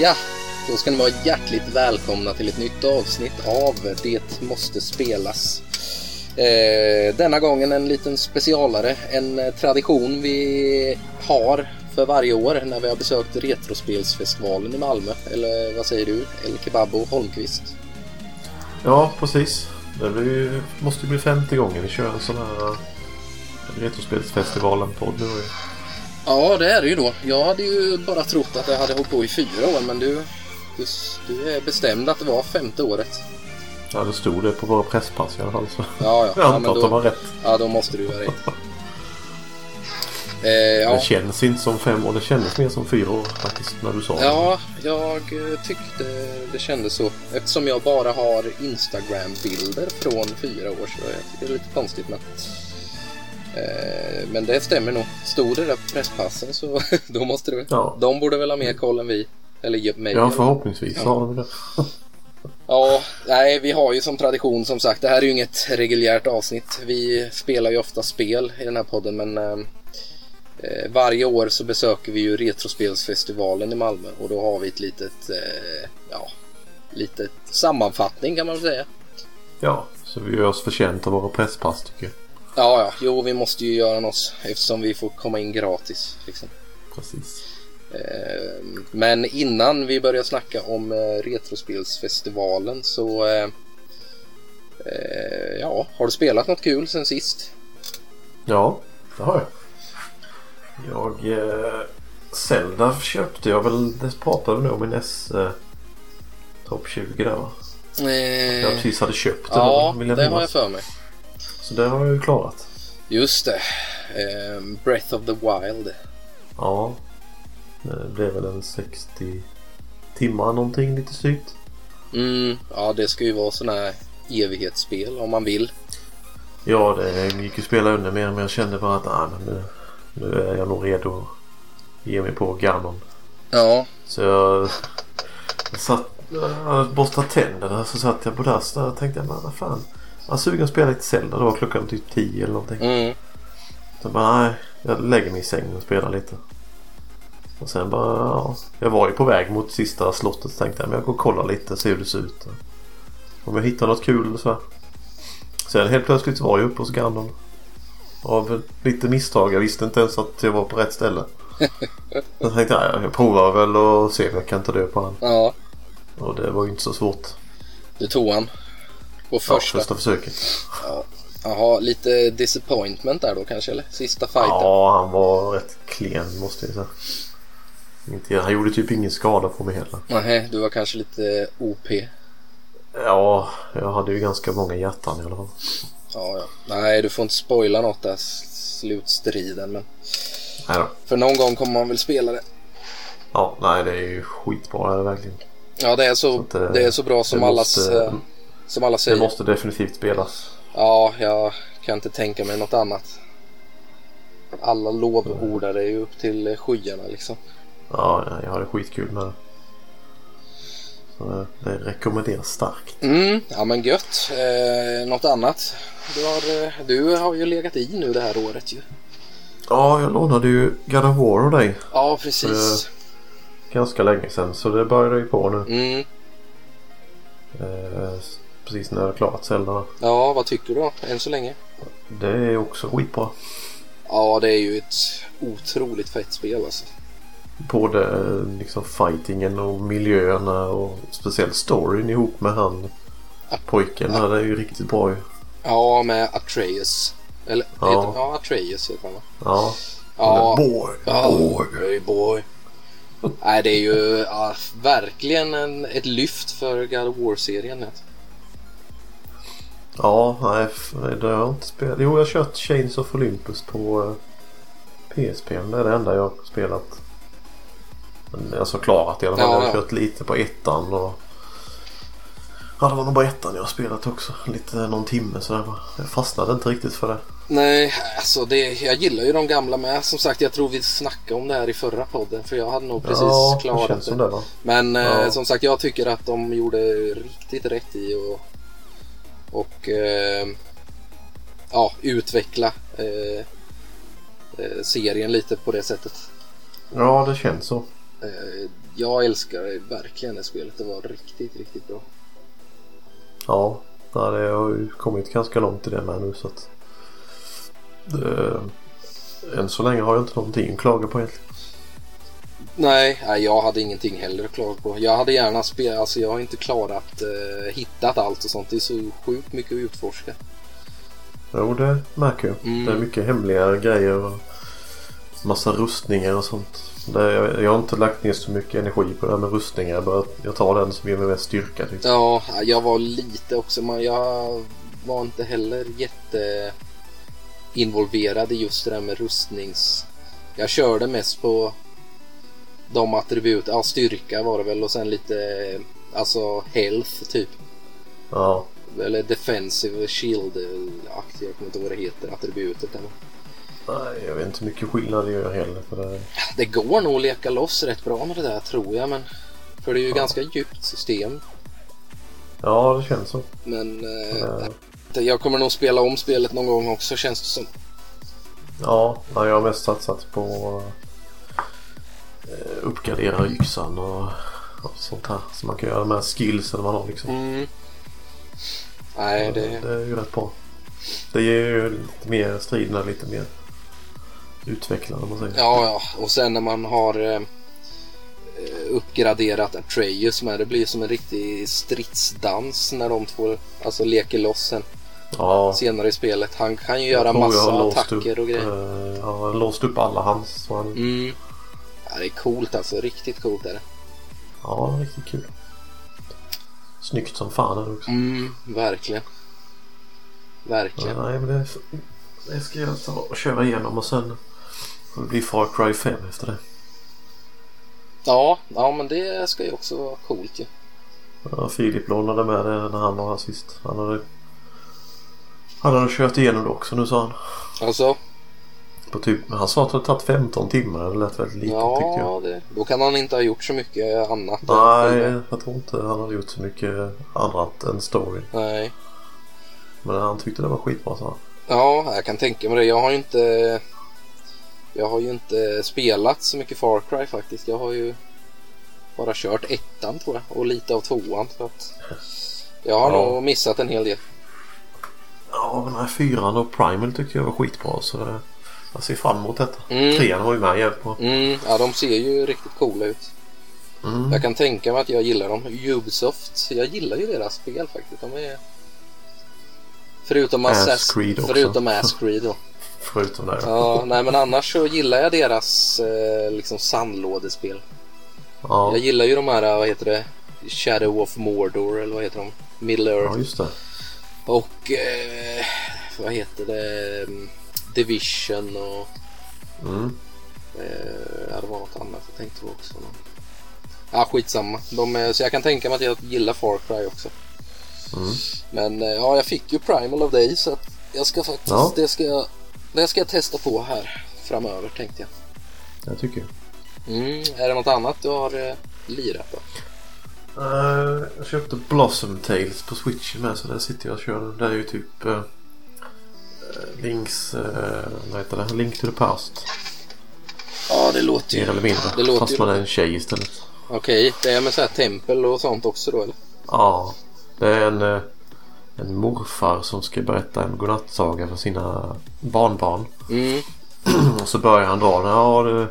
Ja, då ska ni vara hjärtligt välkomna till ett nytt avsnitt av Det måste spelas. Eh, denna gången en liten specialare, en eh, tradition vi har för varje år när vi har besökt Retrospelsfestivalen i Malmö. Eller vad säger du, El Kebabo Holmqvist? Ja, precis. Det blir, ju- måste ju bli 50 gånger vi kör en sån här eh, Retrospelsfestivalen-podd. nu. Ja, det är det ju då. Jag hade ju bara trott att det hade hållit på i fyra år, men du, du, du är bestämd att det var femte året. Ja, det stod det på våra presspass i alla fall. Så Ja, ja. jag ja antar men att de har då, rätt. ja, då måste du göra rätt. Eh, ja. Det känns inte som fem år. Det kändes mer som fyra år faktiskt när du sa det. Ja, jag eh, tyckte det kändes så. Eftersom jag bara har Instagram-bilder från fyra år så jag tycker det är lite konstigt. Men, eh, men det stämmer nog. Stod det där på presspassen så då måste det Ja. De borde väl ha mer koll än vi. Eller ge mig. Ja, förhoppningsvis Ja. har de det. Ja, nej, vi har ju som tradition som sagt, det här är ju inget reguljärt avsnitt. Vi spelar ju ofta spel i den här podden, men eh, eh, varje år så besöker vi ju Retrospelsfestivalen i Malmö och då har vi ett litet, eh, ja, litet sammanfattning kan man väl säga. Ja, så vi gör oss förtjänta av våra presspass tycker jag. Ja, ja, jo, vi måste ju göra något eftersom vi får komma in gratis. Liksom. Precis. Eh, Men innan vi börjar snacka om eh, Retrospelsfestivalen så... eh, eh, Ja, har du spelat något kul sen sist? Ja, det har jag. Jag... Eh, Zelda köpte jag väl. Det pratade vi nog om i NES eh, Topp 20 där va? Jag Eh, precis hade köpt den. Ja, vill jag det har jag minnas. för mig. Så det har jag ju klarat. Just det. Eh, Breath of the Wild. Ja. Det blev väl en 60 timmar någonting lite styvt. Mm, ja, det ska ju vara sådana här evighetsspel om man vill. Ja, det gick ju att spela under mer men jag kände bara att ah, men nu, nu är jag nog redo att ge mig på Ganon. Ja, Så jag, jag satt jag borstade tänderna så satt jag på dassen och tänkte men vad fan. Jag var sugen att spela lite Zelda. Då var klockan typ 10 eller någonting. mm, Så bara, nej, jag lägger mig i sängen och spelar lite. Och sen bara, ja. Jag var ju på väg mot sista slottet så tänkte jag men jag går och kollar lite och ser hur det ser ut. Om jag hittar något kul så. här. Sen helt plötsligt var jag uppe hos Ganon. Av lite misstag. Jag visste inte ens att jag var på rätt ställe. Jag tänkte jag, jag provar väl och ser om jag kan ta död på han. ja. Och det var ju inte så svårt. Du tog han. På första. Ja, första försöket. Ja. Jaha, lite disappointment där då kanske, eller? Sista fighten. Ja, han var rätt klen måste jag säga. Inte, han gjorde typ ingen skada på mig heller. Nej, du var kanske lite OP. Ja, jag hade ju ganska många hjärtan i alla fall. Ja, ja. Nej, du får inte spoila något där s- slutstriden. Men Nej då. för någon gång kommer man väl spela det. Ja, nej det är ju skitbra det är det verkligen. Ja, det är så, att, eh, det är så bra som, det allas, måste- eh, som alla Det säger. måste definitivt spelas. Ja, jag kan inte tänka mig något annat. Alla lovordare är ju upp till eh, skyarna liksom. Ja, nej, jag hade skitkul med det. Så eh, det rekommenderas starkt. Mm, ja men gött. Eh, något annat? Du har, eh, du har ju legat i nu det här året ju. Ja, jag lånade ju God of War av dig Ja, precis. ganska länge sedan så det började ju på nu. Mm. Eh, precis när jag hade klarat Zelda. Ja, vad tycker du då, än så länge? Det är också skitbra. Ja, det är ju ett otroligt fett spel alltså. både eh, liksom fightingen och miljöerna och speciellt storyn ihop med han pojken där. Det är ju riktigt bra ju. Ja, med Atreus. Eller, Ja. heter, ja Atreus heter han va? Ja. Ja, Boy, Ja, Boy, boy. boy. Nej, det är ju ja, verkligen en, ett lyft för God of War-serien. Ja, nej. f- Det har jag inte spelat. Jo, jag har kört Chains of Olympus på eh, PSP. men Det är det enda jag har spelat. Men Alltså klarat i alla fall. Ja, jag har ja. kört lite på ettan och... Ja, det var nog bara ettan jag har spelat också. Lite någon timme sådär. Jag fastnade inte riktigt för det. Nej, alltså det, jag gillar ju de gamla med. Som sagt, jag tror vi snackade om det här i förra podden. För jag hade nog precis ja, det klarat känns det. som det va? Men eh, Ja. som sagt, jag tycker att de gjorde riktigt rätt i och, och eh, ja, utveckla eh, eh, serien lite på det sättet. Ja, det känns så. Eh, Jag älskar verkligen det spelet. Det var riktigt, riktigt bra. Ja, ja, det har ju kommit ganska långt i det med nu så att... Eh, än så länge har jag inte någonting att klaga på egentligen. Nej, nej, jag hade ingenting heller att klaga på. Jag hade gärna spelat, alltså jag har inte klarat, eh, hittat allt och sånt. Det är så sjukt mycket att utforska. Jo, det märker jag. Mm. Det är mycket hemliga grejer och massa rustningar och sånt. Det, jag, jag har inte lagt ner så mycket energi på det här med rustningar. Jag, bara, jag tar den som ger mig mest styrka. Typ. Ja, jag var lite också, men jag var inte heller jätte involverad i just det där med rustnings... Jag körde mest på de attribut, ja styrka var det väl och sen lite alltså health typ. Ja, Eller defensive shield aktivt jag kommer inte ihåg vad det heter, attributet. Eller. nej, jag vet inte hur mycket skillnad det gör heller. För det, Det går nog att leka loss rätt bra med det där tror jag men för det är ju ganska djupt system. ja, det känns så. Men eh, Eh, jag kommer nog spela om spelet någon gång också känns det som. Ja, nej, jag har mest satsat på eh, uppgradera yxan och, och sånt här. Så man kan göra de här skillsen man har liksom. Mm. Nej, det... Det är ju rätt bra. Det ger ju lite mer striderna lite mer utvecklande om man säger. Ja, ja. Och sen när man har eh, uppgraderat Atreus med. Det blir ju som en riktig stridsdans när de två alltså, leker loss sen, ja senare i spelet. Han kan ju jag göra tror jag massa har låst attacker upp, och grejer. eh, ja, jag har låst upp alla hans. Så han, Mm. Ja, det är coolt alltså. Riktigt coolt är det. Ja, det är riktigt kul. Snyggt som fan är det också. Mm, verkligen. Verkligen. Ja, nej, men det, det ska jag ta och köra igenom och sen får det bli Far Cry 5 efter det. Ja, ja men det ska ju också vara coolt ju. Ja, Filip lånade med det när han var här sist. Han hade, han hade kört igenom det också nu sa han. Alltså, På typ, han sa att det hade tagit 15 timmar. Det lät väldigt lite tyckte jag. ja, det, då kan han inte ha gjort så mycket annat. Nej, jag tror inte han hade gjort så mycket annat än story. Nej. Men han tyckte det var skitbra sa han. Ja, jag kan tänka mig det. Jag har ju inte... Jag har ju inte spelat så mycket Far Cry faktiskt. Jag har ju bara kört ettan tror jag och lite av tvåan. Så att jag har Ja. nog missat en hel del. Ja, men den här fyran och Primal tyckte jag var skitbra så det- jag ser fram emot detta. Mm. Trean var ju med jävligt bra. Mm, ja, de ser ju riktigt coola ut. Mm. Jag kan tänka mig att jag gillar dem. Ubisoft, jag gillar ju deras spel faktiskt. De är... Förutom Ass Assassin- Creed också. Förutom Ass Creed då. Förutom det. Ja. Ja, nej men annars så gillar jag deras eh, liksom sandlådespel. Ja. Jag gillar ju de här, vad heter det, Shadow of Mordor eller vad heter de? Middle Earth. just det. Och eh, vad heter det? Mm, Division och Mm. eh, ja, det var något annat jag tänkte på också. Ja, skitsamma. De är, så jag kan tänka mig att jag gillar Far Cry också. Mm. Men eh, ja, jag fick ju Primal av dig så att jag ska faktiskt, Ja. det, ska, jag- det ska jag testa på här framöver tänkte jag. Jag tycker jag. Mm, är det något annat du har eh, lirat då? Eh, jag köpte Blossom Tales på switchen med så där sitter jag och kör den. Det är ju typ eh, Links... eh, vad heter det? Link to the past. Ja, det låter Mer eller mindre. Det låter ju- Fast man är en tjej istället. Okej, det är med så här tempel och sånt också då eller? Ja. Det är en, eh, en morfar som ska berätta en godnattsaga för sina barnbarn. Mm, Och så börjar han dra den. Ja, det,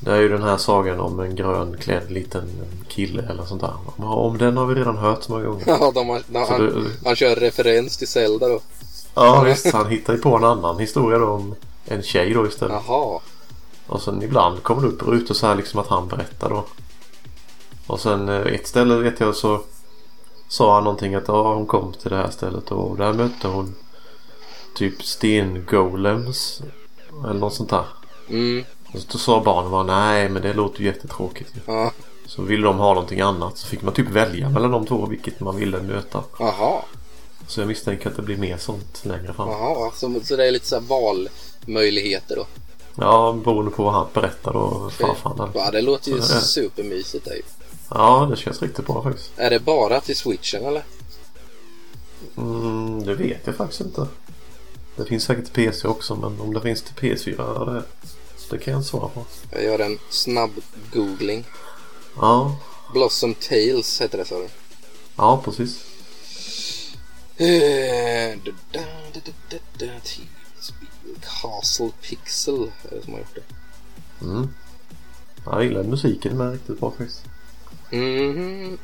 det är ju den här sagan om en grönklädd liten kille eller sånt där. Ja, om den har vi redan hört så många gånger. ja, de har, de, Så han, det, han kör referens till Zelda då. Ja visst, han hittar ju på en annan historia då om en tjej då istället. Jaha, Och sen ibland kommer det upp rutor så här liksom att han berättar då. Och sen eh, ett ställe vet jag så sa han någonting att ja, hon kom till det här stället och där mötte hon typ stengolems eller något sånt där. mm, Och så sa barnen bara nej men det låter ju jättetråkigt ju. ja, Så ville de ha någonting annat så fick man typ välja mellan de två vilket man ville möta. jaha, Så jag misstänker att det blir mer sånt längre fram. jaha. Så, så det är lite så här valmöjligheter då. Ja, beroende på vad han berättar då. Farfar där. Ja, det låter ju Så det är- supermysigt där ju. Ja, det känns riktigt bra faktiskt. Är det bara till switchen eller? Mm, det vet jag faktiskt inte. Det finns säkert till PC också men om det finns till PS4 ja, det Det kan jag inte svara på. Jag gör en snabb googling. Ja, Blossom Tales heter det sa du? ja precis. Eh, da- da- da- da- da- da- Tears- Castle Pixel är det som har gjort det. Mm. Jag gillar musiken med riktigt bra faktiskt. Mhm.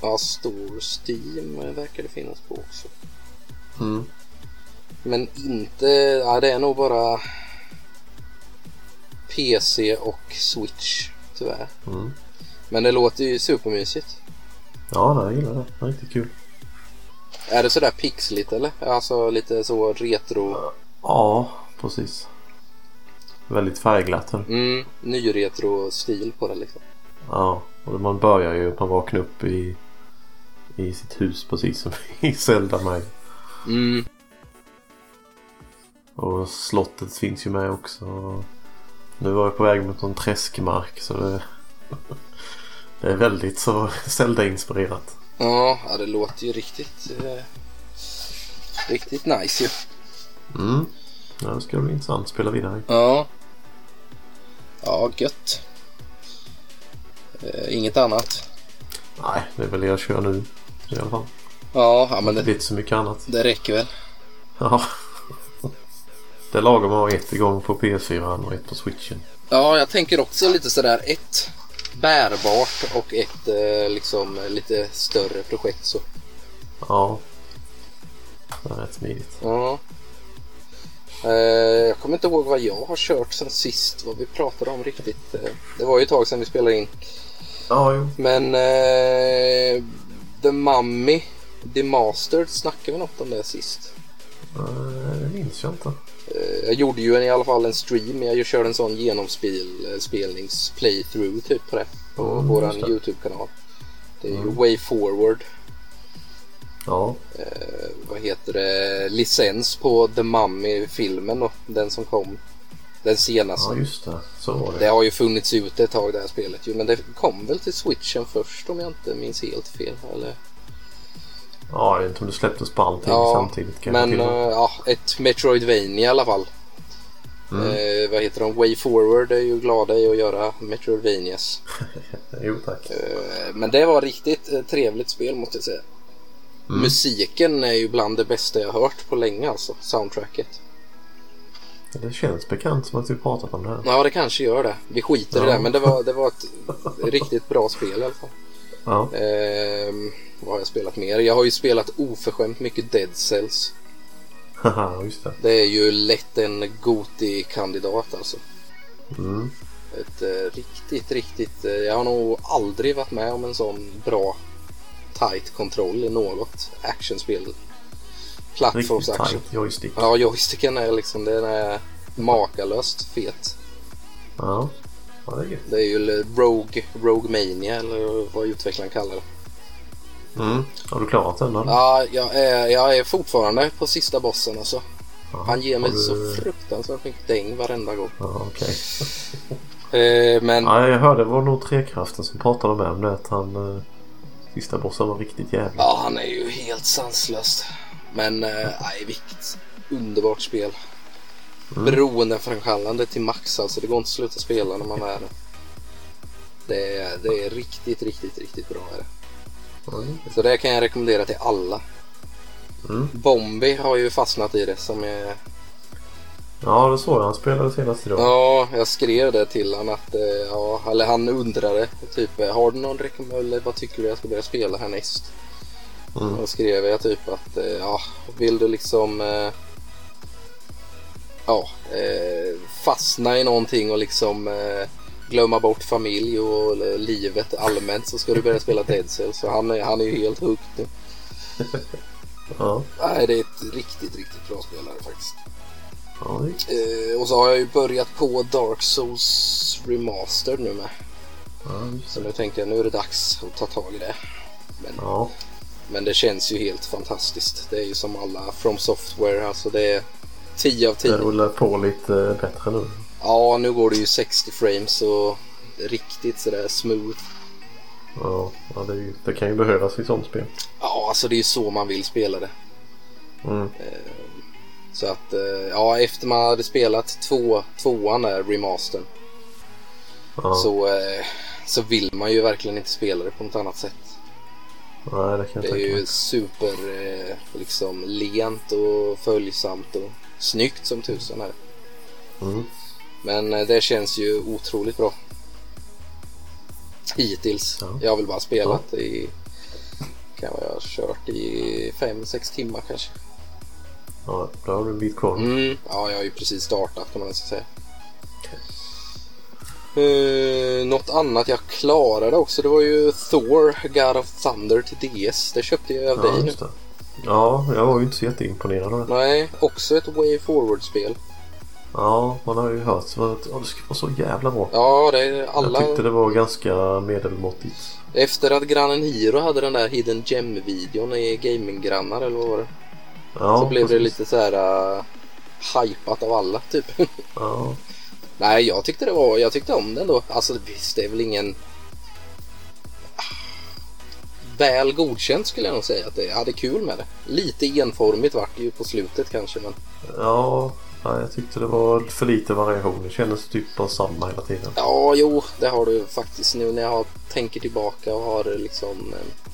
Ja, stor Steam verkar det finnas på också. Mm. Men inte... Ja, det är nog bara PC och Switch tyvärr. Mm. Men det låter ju supermysigt. Ja, nej, jag gillar det. det är riktigt kul. Är det sådär pixligt eller? Alltså lite så retro... Ja, precis. Väldigt färgglatt här. Mm, nyretro-stil på det liksom. Ja, och man börjar ju man vaknar upp i, i sitt hus precis som i Zelda med. Mm. Och slottet finns ju med också. Nu var jag på väg mot någon träskmark så det, det är väldigt så Zelda-inspirerat. Ja, ja, det låter ju riktigt... Eh, riktigt nice ju. Mm. Ja, det ska bli intressant att spela vidare. Ja. Ja, gött. Eh, inget annat. Nej, det är väl det jag kör nu i alla fall. Ja, ja men Det det, blir inte så mycket annat. det räcker väl. Ja. Det är lagom att ha ett igång på PS4 och ett på Switchen. Ja, jag tänker också lite sådär ett bärbart och ett eh, liksom lite större projekt så. Ja. Det är rätt smidigt. Ja. Eh, jag kommer inte ihåg vad jag har kört sen sist, vad vi pratade om riktigt. Eh, det var ju ett tag sedan vi spelade in. Ja, jo. Men eh, The Mummy, The Mastered snackade vi något om det sist. Eh, Det minns jag inte. Eh, Jag gjorde ju en, i alla fall en stream. Jag körde en sån genomspelnings-playthrough typ på det. På Mm, våran just det. Mm. YouTube-kanal. Det är ju Way Forward. Ja. Eh, Vad heter det? Licens på The Mummy-filmen då. Den som kom. Den senaste. ja, just det. Så var Det det. har ju funnits ute ett tag det här spelet ju. Men det kom väl till switchen först om jag inte minns helt fel. Eller? Ja, jag vet inte om det släpptes på allting samtidigt. Kan men jag eh, till ja, ett Metroidvania i alla fall. Mm. Eh, vad heter de? Way Forward är ju glada i att göra Metroidvanias. Jo, tack. Eh, men det var riktigt eh, trevligt spel måste jag säga. Musiken är ju bland det bästa jag hört på länge alltså, soundtracket. Det känns bekant som att vi pratat om det här. Ja, det kanske gör det. Vi skiter i Ja. det, men det var, det var ett riktigt bra spel i alla fall. Ja. Ehm, vad har jag spelat mer? Jag har ju spelat oförskämt mycket Dead Cells. Haha, just det. Det är ju lätt en Goti-kandidat alltså. Mm. Ett eh, riktigt, riktigt... Eh, jag har nog aldrig varit med om en sån bra tight kontroll i något actionspel. Riktigt Plattformsaction. tajt joystick. Ja, joysticken är liksom den är makalöst fet. Ja. Ja, det är gött. Det är ju Rogue, Rogue Mania eller vad utvecklaren kallar det. Mm. Har du klarat den? eller? Ja, jag är, jag är fortfarande på sista bossen alltså. Ja. Han ger mig Har så du- fruktansvärt mycket däng varenda gång. Ja, okej. Eh, men ja. Ja, jag hörde det var nog Trekraften som pratade med om det. Att han... eh, Sista bossen var riktigt jävlig. han är ju helt sanslös. Men eh, nej, vilket underbart spel. Beroendeframkallande till max alltså. Det går inte att sluta spela när man är det. Är, det är riktigt, riktigt, riktigt bra. Är det. Ja, det är gött. Så det kan jag rekommendera till alla. Mm. Bombi har ju fastnat i det som är Ja, det såg jag. Han spelade senast idag. Ja, jag skrev det till han att, eh, ja, eller han undrade typ har du någon rekommendation eller vad tycker du jag ska börja spela härnäst? Mm. Då skrev jag typ att, eh, ja, vill du liksom eh, ja, eh, fastna i någonting och liksom eh, glömma bort familj och eh, livet allmänt så ska du börja spela Dead Cells. Så han, är- han är ju helt hooked nu. Ja. Nej, det är ett riktigt, riktigt bra spelare faktiskt. Ja, det är gött. Eh, och så har jag ju börjat på Dark Souls Remastered nu med. Ja, just Så det. nu tänkte jag nu är det dags att ta tag i det. Ja. Men det känns ju helt fantastiskt. Det är ju som alla From Software, alltså det är 10 av 10. Det rullar på lite eh, bättre nu. Ja, nu går det ju 60 frames och riktigt sådär smooth. Ja, ja det, är ju- det kan ju behövas i sånt spel. Ja, alltså det är ju så man vill spela det. Mm. Så att eh, ja, efter man hade spelat två, tvåan där, remastern, Ja. så, eh, så vill man ju verkligen inte spela det på något annat sätt. Nej, det kan jag Det tänka är ju mig. super eh, liksom lent och följsamt och snyggt som tusan här. Mm. Men eh, det känns ju otroligt bra. Hittills. Ja. Jag har väl bara spelat i... Kan jag ha kört i 5-6 timmar kanske. Ja, då har du en bit kvar. Mm. Ja, jag har ju precis startat kan man nästan säga. Uh, något annat jag klarade också det var ju Thor, God of Thunder till DS. Det köpte jag av ja, dig nu. just det. Ja, jag var ju inte så jätteimponerad av det. Nej, också ett Way Forward-spel. Ja, man har ju hört så att ja, det ska vara så jävla bra. Ja, det är alla... Jag tyckte det var ganska medelmåttigt. Efter att grannen Hiro hade den där Hidden Gem-videon i Gaming-grannar eller vad var det? Ja, så blev det precis. lite så här uh, hypat av alla typ. Ja, Nej, jag tyckte det var, jag tyckte om den då. Alltså visst, det är väl ingen väl godkänt skulle jag nog säga att det jag hade kul med det. Lite enformigt vart det ju på slutet kanske men ja, ja, jag tyckte det var för lite variation. Det kändes typ bara samma hela tiden. ja, jo, det har du faktiskt nu när jag har, tänker tillbaka och har liksom eh,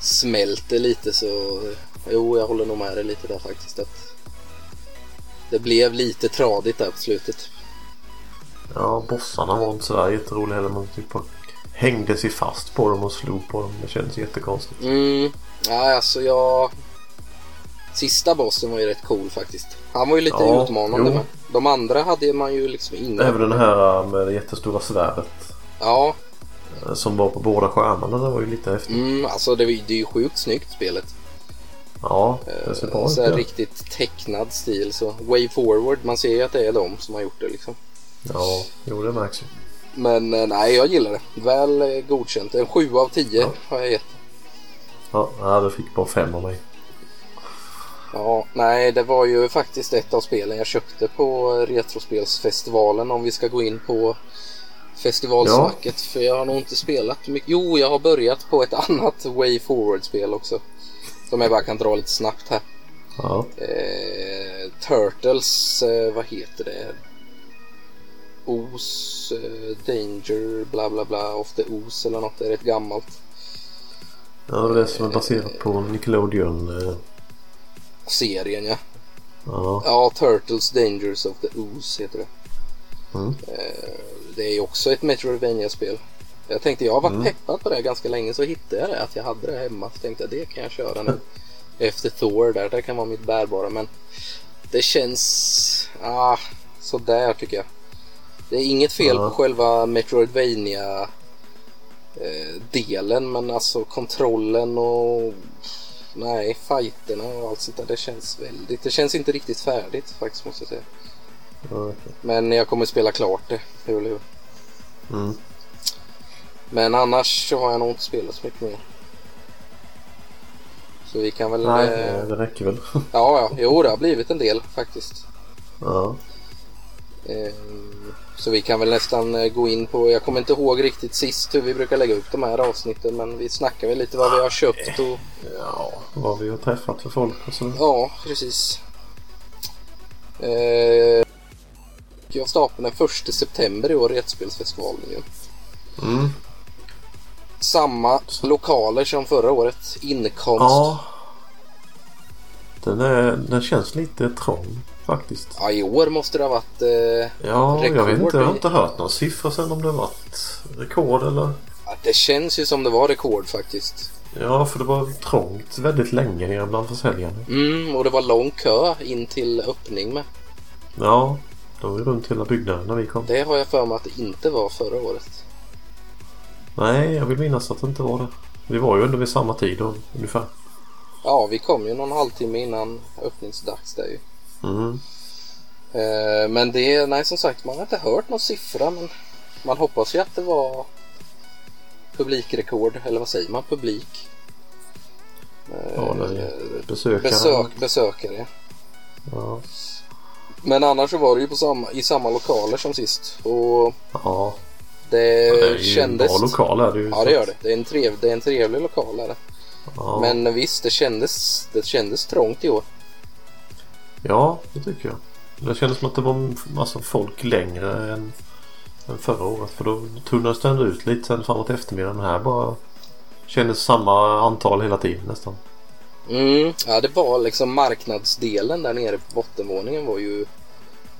smält det lite så jo, jag håller nog med dig lite där faktiskt att det blev lite tradigt där på slutet. Ja, bossarna var inte sådär jätteroliga heller. Man typ bara hängde sig fast på dem och slog på dem. Det kändes jättekonstigt. Mm, nej alltså jag... Sista bossen var ju rätt cool faktiskt. Han var ju lite Ja, utmanande jo. med. De andra hade man ju liksom inga... Även den här äh, med det jättestora svärdet Ja, eh, som var på båda skärmarna. Det var ju lite häftigt. mm, alltså det, var- det är ju sjukt snyggt spelet. Ja, det ser bra ut. så här, ja. riktigt tecknad stil så. Way forward, man ser ju att det är de som har gjort det liksom. Ja, jo det märks ju. Men eh, nej, jag gillar det. Väl eh, godkänt. En 7 av 10 Ja. har jag gett. Ja, nej, du fick bara fem av mig. Ja, nej, det var ju faktiskt ett av spelen jag köpte på Retrospelsfestivalen om vi ska gå in på festivalsnacket. För jag har nog inte spelat mycket. Jo, jag har börjat på ett annat Way Forward-spel också. Som jag bara kan dra lite snabbt här. Ja, Eh, Turtles, eh, vad heter det? Os, eh, Danger, bla bla bla, of the Os eller något. Det är rätt gammalt. ja det var det som är baserat på Nickelodeon. eh, Serien ja. Ja, Ja, Turtles, Dangers of the Os heter det. Eh, mm. Det är ju också ett Metroidvania-spel. Jag tänkte jag har varit Mm. peppad på det här ganska länge så hittade jag det att jag hade det hemma. Så tänkte jag det kan jag köra nu. Efter Thor där, det kan vara mitt bärbara men det känns ah, sådär tycker jag. Det är inget fel Ja. på själva Metroidvania eh, delen men alltså kontrollen och nej, fighterna och allt sånt där det känns väldigt, det känns inte riktigt färdigt faktiskt måste jag säga. ja, okej. Men jag kommer spela klart det, hur eller hur. Mm. Men annars så har jag nog inte spelat så mycket mer. Så vi kan väl... Nej, eh, eh, det räcker väl. Ja, ja. Jo, det har blivit en del faktiskt. ja. Eh, Så vi kan väl nästan eh, gå in på... Jag kommer inte ihåg riktigt sist hur vi brukar lägga upp de här avsnitten men vi snackar väl lite vad vi har köpt och... ja, vad vi har träffat för folk och sådär. Ja, precis. Eh, Jag startade den 1 september i år, Retspelsfestivalen ju. Mm. Samma lokaler som förra året. Inkomst. Ja. Den, är, den känns lite trång faktiskt. Ja, i år måste det ha varit... Eh, Ja, jag vet Rekord inte. Jag i- har inte hört någon siffra sen om det varit rekord eller... att det känns ju som det var rekord faktiskt. Ja, för det var trångt väldigt länge nere bland försäljarna. Mm, och det var lång kö in till öppning med. Ja, de var ju runt hela byggnaden när vi kom. Det har jag för mig att det inte var förra året. Nej, jag vill minnas att det inte var det. Vi var ju ändå vid samma tid då, ungefär. Ja, vi kom ju någon halvtimme innan öppningsdags där ju. Mm. Eh, men det, nej som sagt, man har inte hört någon siffra men man hoppas ju att det var publikrekord, eller vad säger man, publik? Eh, Ja, det är besökare. besök, besökare. Ja. Men annars så var det ju på samma, i samma lokaler som sist och ja. det, Det är ju kändes... en bra lokal är det ju. Eh, Ja det gör det. Det är en, trev, det är en trevlig lokal är det. Ja. Men visst det kändes, det kändes trångt i år. Ja, det tycker jag. Det kändes som att det var en massa folk längre än, än förra året. För då tunnades det ändå ut lite sen framåt eftermiddagen. Här bara kändes samma antal hela tiden nästan. Mm, ja, det var liksom marknadsdelen där nere på bottenvåningen var ju...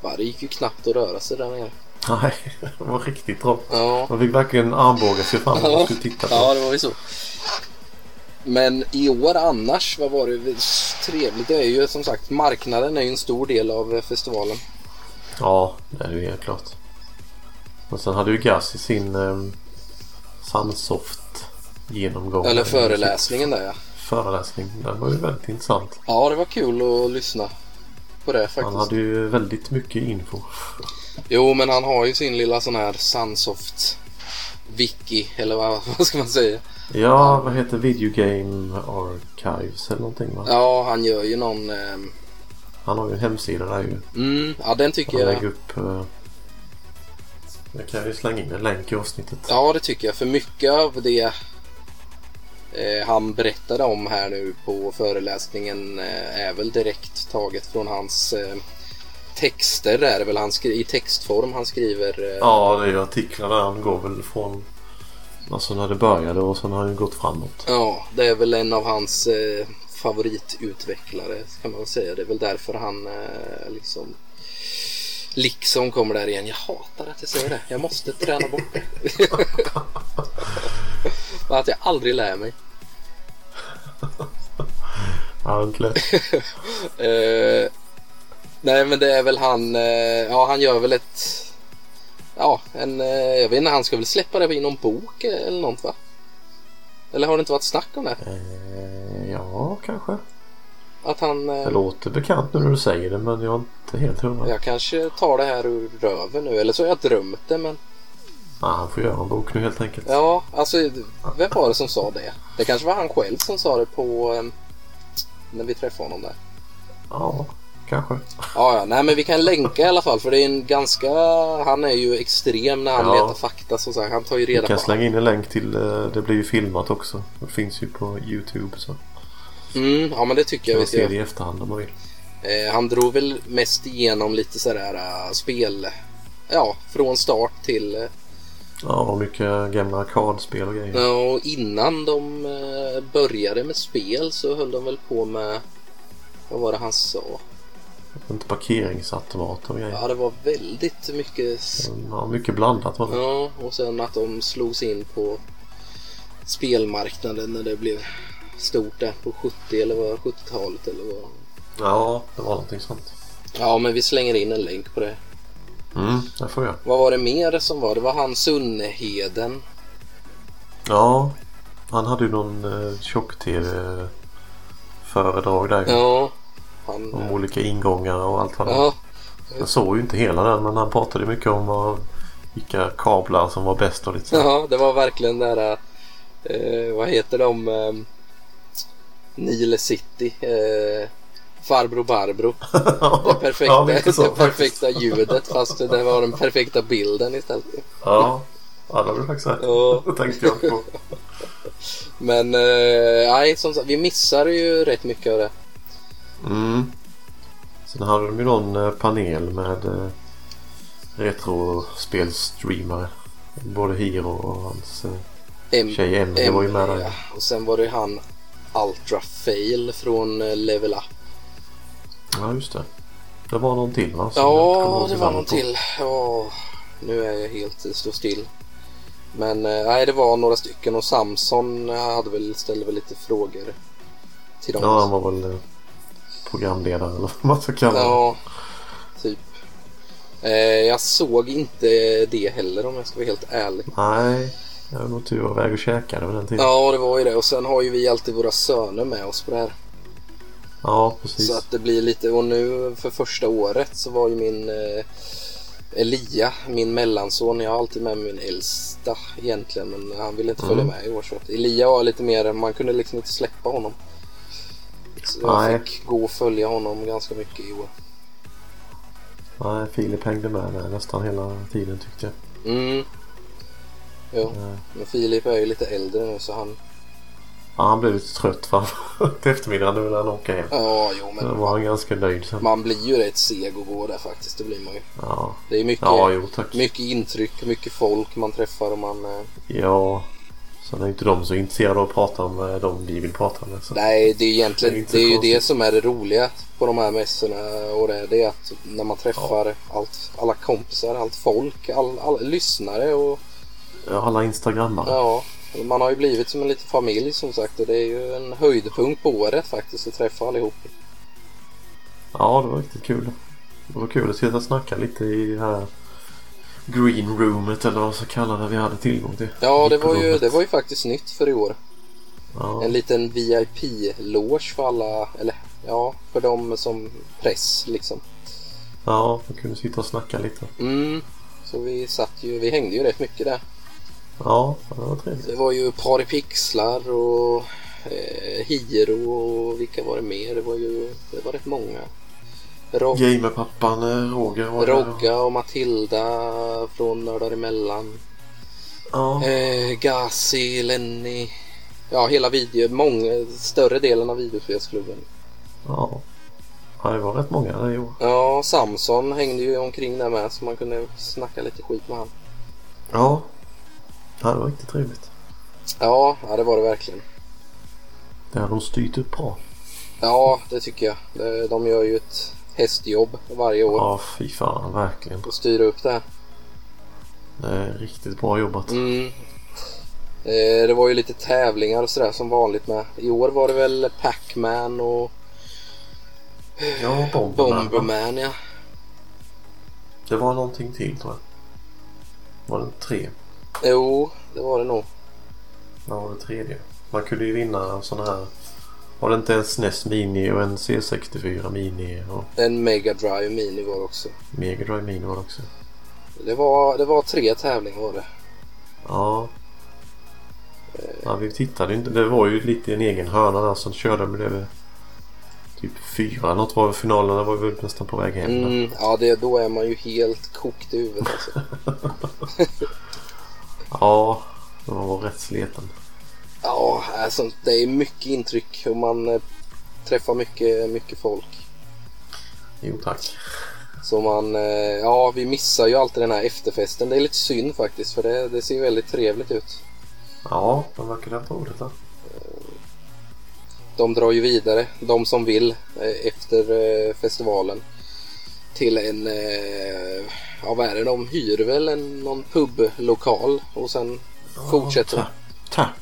Bara, det gick ju knappt att röra sig där nere. Nej, det var riktigt trångt. Ja, Man fick verkligen armbåga sig fram när man skulle titta på. ja det var ju så. Men i år annars, vad var det trevligt? Det är ju som sagt marknaden är ju en stor del av eh, festivalen. Ja, det är ju helt klart. Men sen hade ju Gassi sin eh, Sunsoft genomgång. Eller föreläsningen där ja. Föreläsning. Den var ju väldigt intressant. Ja, det var kul att lyssna på det faktiskt. Han hade ju väldigt mycket info. Jo, men han har ju sin lilla sån här Sunsoft Wiki, eller vad, vad ska man säga? Ja, vad heter Video Game Archives eller någonting va? Ja, han gör ju någon... ehm, Han har ju en hemsida där ju. Mm, ja, den tycker Han lägger jag... upp... Eh, jag kan ju slänga in en länk i avsnittet. Ja, det tycker jag. För mycket av det eh, han berättade om här nu på föreläsningen eh, är väl direkt taget från hans eh, texter. Där är det väl han skri- i textform han skriver... Eh, Ja, det är ju artiklarna där. Han går väl från... Alltså när det började och sen har han ju gått framåt. Ja, det är väl en av hans eh, favoritutvecklare kan man väl säga. Det är väl därför han eh, liksom liksom kommer där igen. Jag hatar att jag säger det. Jag måste träna bort det. Men att jag aldrig lär mig. Ja, det är inte lätt. Eh, nej, men det är väl han. Eh, ja, han gör väl ett. Ja, en, eh, jag vet inte. Han ska väl släppa det i någon bok eh, eller något va? Eller har det inte varit snack om det? Eh, ja, kanske. Att han... eh, Det låter bekant nu när du säger det men jag är inte helt hundra. Jag kanske tar det här ur röven nu eller så har jag drömt det men Nej, Ah, han får göra en bok nu helt enkelt. ja alltså vem var det som sa det? Det kanske var han själv som sa det på eh, när vi träffade honom där. Ja, kanske. Ja, ja, nej men vi kan länka i alla fall för det är en ganska, han är ju extrem när han Ja. letar fakta som sagt. Han tar ju Vi reda kan på slänga in en länk till... eh, Det blir ju filmat också. Det finns ju på Youtube så. mm, Ja men det tycker jag vi Jag man ska se göra. det i efterhand om man vill. Eh, han drog väl mest igenom lite sådär eh, spel, ja från start till eh, Ja, och mycket gamla arkadspel och grejer. Ja, och innan de eh, började med spel så höll de väl på med... Vad var det han sa? Inte parkeringsautomater och grejer. Mm, Ja, det var väldigt mycket... s- Ja, mycket blandat var det. Ja, och sen att de slogs in på spelmarknaden när det blev stort där på 70 eller vad 70-talet eller vad. Ja, det var någonting sånt. Ja, men vi slänger in en länk på det. Mm, det får jag. Vad var det mer som var? Det var han Sunneheden. Ja, han hade ju någon eh, tjock-tv-föredrag där ju. Ja, han... Om olika ingångar och allt vad det var. Ja, Jag såg ju inte hela den men han pratade mycket om vad, vilka kablar som var bäst och lite så. Ja, det var verkligen där... Eh, vad heter de? Eh, Nile City. Eh, Farbro Barbro. Det perfekta, ja, lite så, det faktiskt. perfekta ljudet fast det var den perfekta bilden istället. Ja, ja det var faktiskt rätt. Ja. Det tänkte jag på. Men eh, nej, som sagt, vi missade ju rätt mycket av det. Mm. Sen hade de ju någon eh, panel med eh, retrospelstreamare. Både Hiro och hans eh, M- tjej Emelie var ju med ja. där. Och sen var det ju han Ultra Fail från eh, Level Up. Ja, just det. Det var någon till va? som jag inte kommer Ja, ihåg det var namnet någon på. till. Ja, nu är jag helt eh, stå still. Men eh, nej, det var några stycken och Samson eh, hade väl, ställde väl lite frågor till dem. Ja, han var väl eh, programledare eller vad man ska kalla det. Ja, typ. Eh, jag såg inte det heller om jag ska vara helt ärlig. Nej, jag var nog tur att vara iväg och käkade vid den tiden. Ja, det var ju det. Och sen har ju vi alltid våra söner med oss på det här. Ja, precis. Så att det blir lite, och nu för första året så var ju min eh, Elia, min mellanson, jag har alltid med min äldsta egentligen men han ville inte Mm. följa med i år så att Elia var lite mer, man kunde liksom inte släppa honom. Så jag Nej. fick gå och följa honom ganska mycket i år. Nej, Filip hängde med där nästan hela tiden tyckte jag. Mm. Jo, men Filip är ju lite äldre nu så han Ja, han blev lite trött för han, till eftermiddagen. Nu vill han åka hem. Ja, jo Då men var han ganska nöjd sen. man blir ju rätt seg att gå där faktiskt. Det blir man ju. Ja, Det är mycket, ja jo tack. mycket intryck, mycket folk man träffar och man... eh, Ja, sen är ju inte de så intresserade av att prata om eh, de vi vill prata med. Så. Nej, det är ju egentligen Det är det, inte är ju konstigt. det som är det roliga på de här mässorna och det, det är att när man träffar allt, alla kompisar, allt folk, all, alla lyssnare och Ja, Alla instagrammare. ja, man har ju blivit som en liten familj som sagt och det är ju en höjdpunkt på året faktiskt att träffa allihop. Ja, det var riktigt kul. Det var kul att sitta och snacka lite i det här green roomet eller vad man ska kalla det vi hade tillgång till. Ja, det var ju, Roomet. det var ju faktiskt nytt för i år. Ja, En liten VIP-loge för alla, eller ja, för dem som press liksom. ja, vi kunde sitta och snacka lite. Mm. Så vi satt ju, vi hängde ju rätt mycket där. Ja, det var trevligt. Det var ju Pari Pixlar och eh, Hiro och vilka var det mer? Det var ju det var rätt många. Rog- Gamerpappan eh, Roger var där. Rogga och Matilda från Nördar emellan. Ja, Eh, Gazi, Lenny. Ja, hela video, många, större delen av videospelsklubben. ja. ja, det var rätt många där i år. Ja, Samson hängde ju omkring där med så man kunde snacka lite skit med han. Ja. ja, det var riktigt trevligt. Ja, ja det var det verkligen. Det hade de styrt upp bra. Ja, det tycker jag. De- De gör ju ett hästjobb varje år Ja, fy fan, verkligen. och styr upp det här. Det är riktigt bra jobbat. Mm. Eh, det var ju lite tävlingar och sådär som vanligt med. I år var det väl Pac-Man och Ja, Bomberman. Bomberman ja. Det var någonting till tror jag. Var det tre? Jo, det var det nog. Ja, var det tredje? Man kunde ju vinna sådana här... Var det inte en SNES Mini och en C64 Mini och En Mega Drive Mini var det också. Mega Drive Mini var det också? Det var, det var tre tävlingar var det. Ja. ja. Vi tittade ju inte. Det var ju lite en egen hörna där som körde med det. Typ fyra eller något var väl finalen. Där var vi väl nästan på väg hem. där. Mm, ja, det, då är man ju helt kokt i huvudet alltså. Ja, det var rätt sleten. Ja, alltså, det är mycket intryck och man eh, träffar mycket, mycket folk. Jo tack. Så man, eh, ja vi missar ju alltid den här efterfesten. Det är lite synd faktiskt för det, det ser ju väldigt trevligt ut. Ja, de verkar ha haft roligt där. De drar ju vidare, de som vill, eh, efter eh, festivalen. Till en, eh, ja vad är det, de hyr väl en, någon publokal och sen fortsätter de. Tap,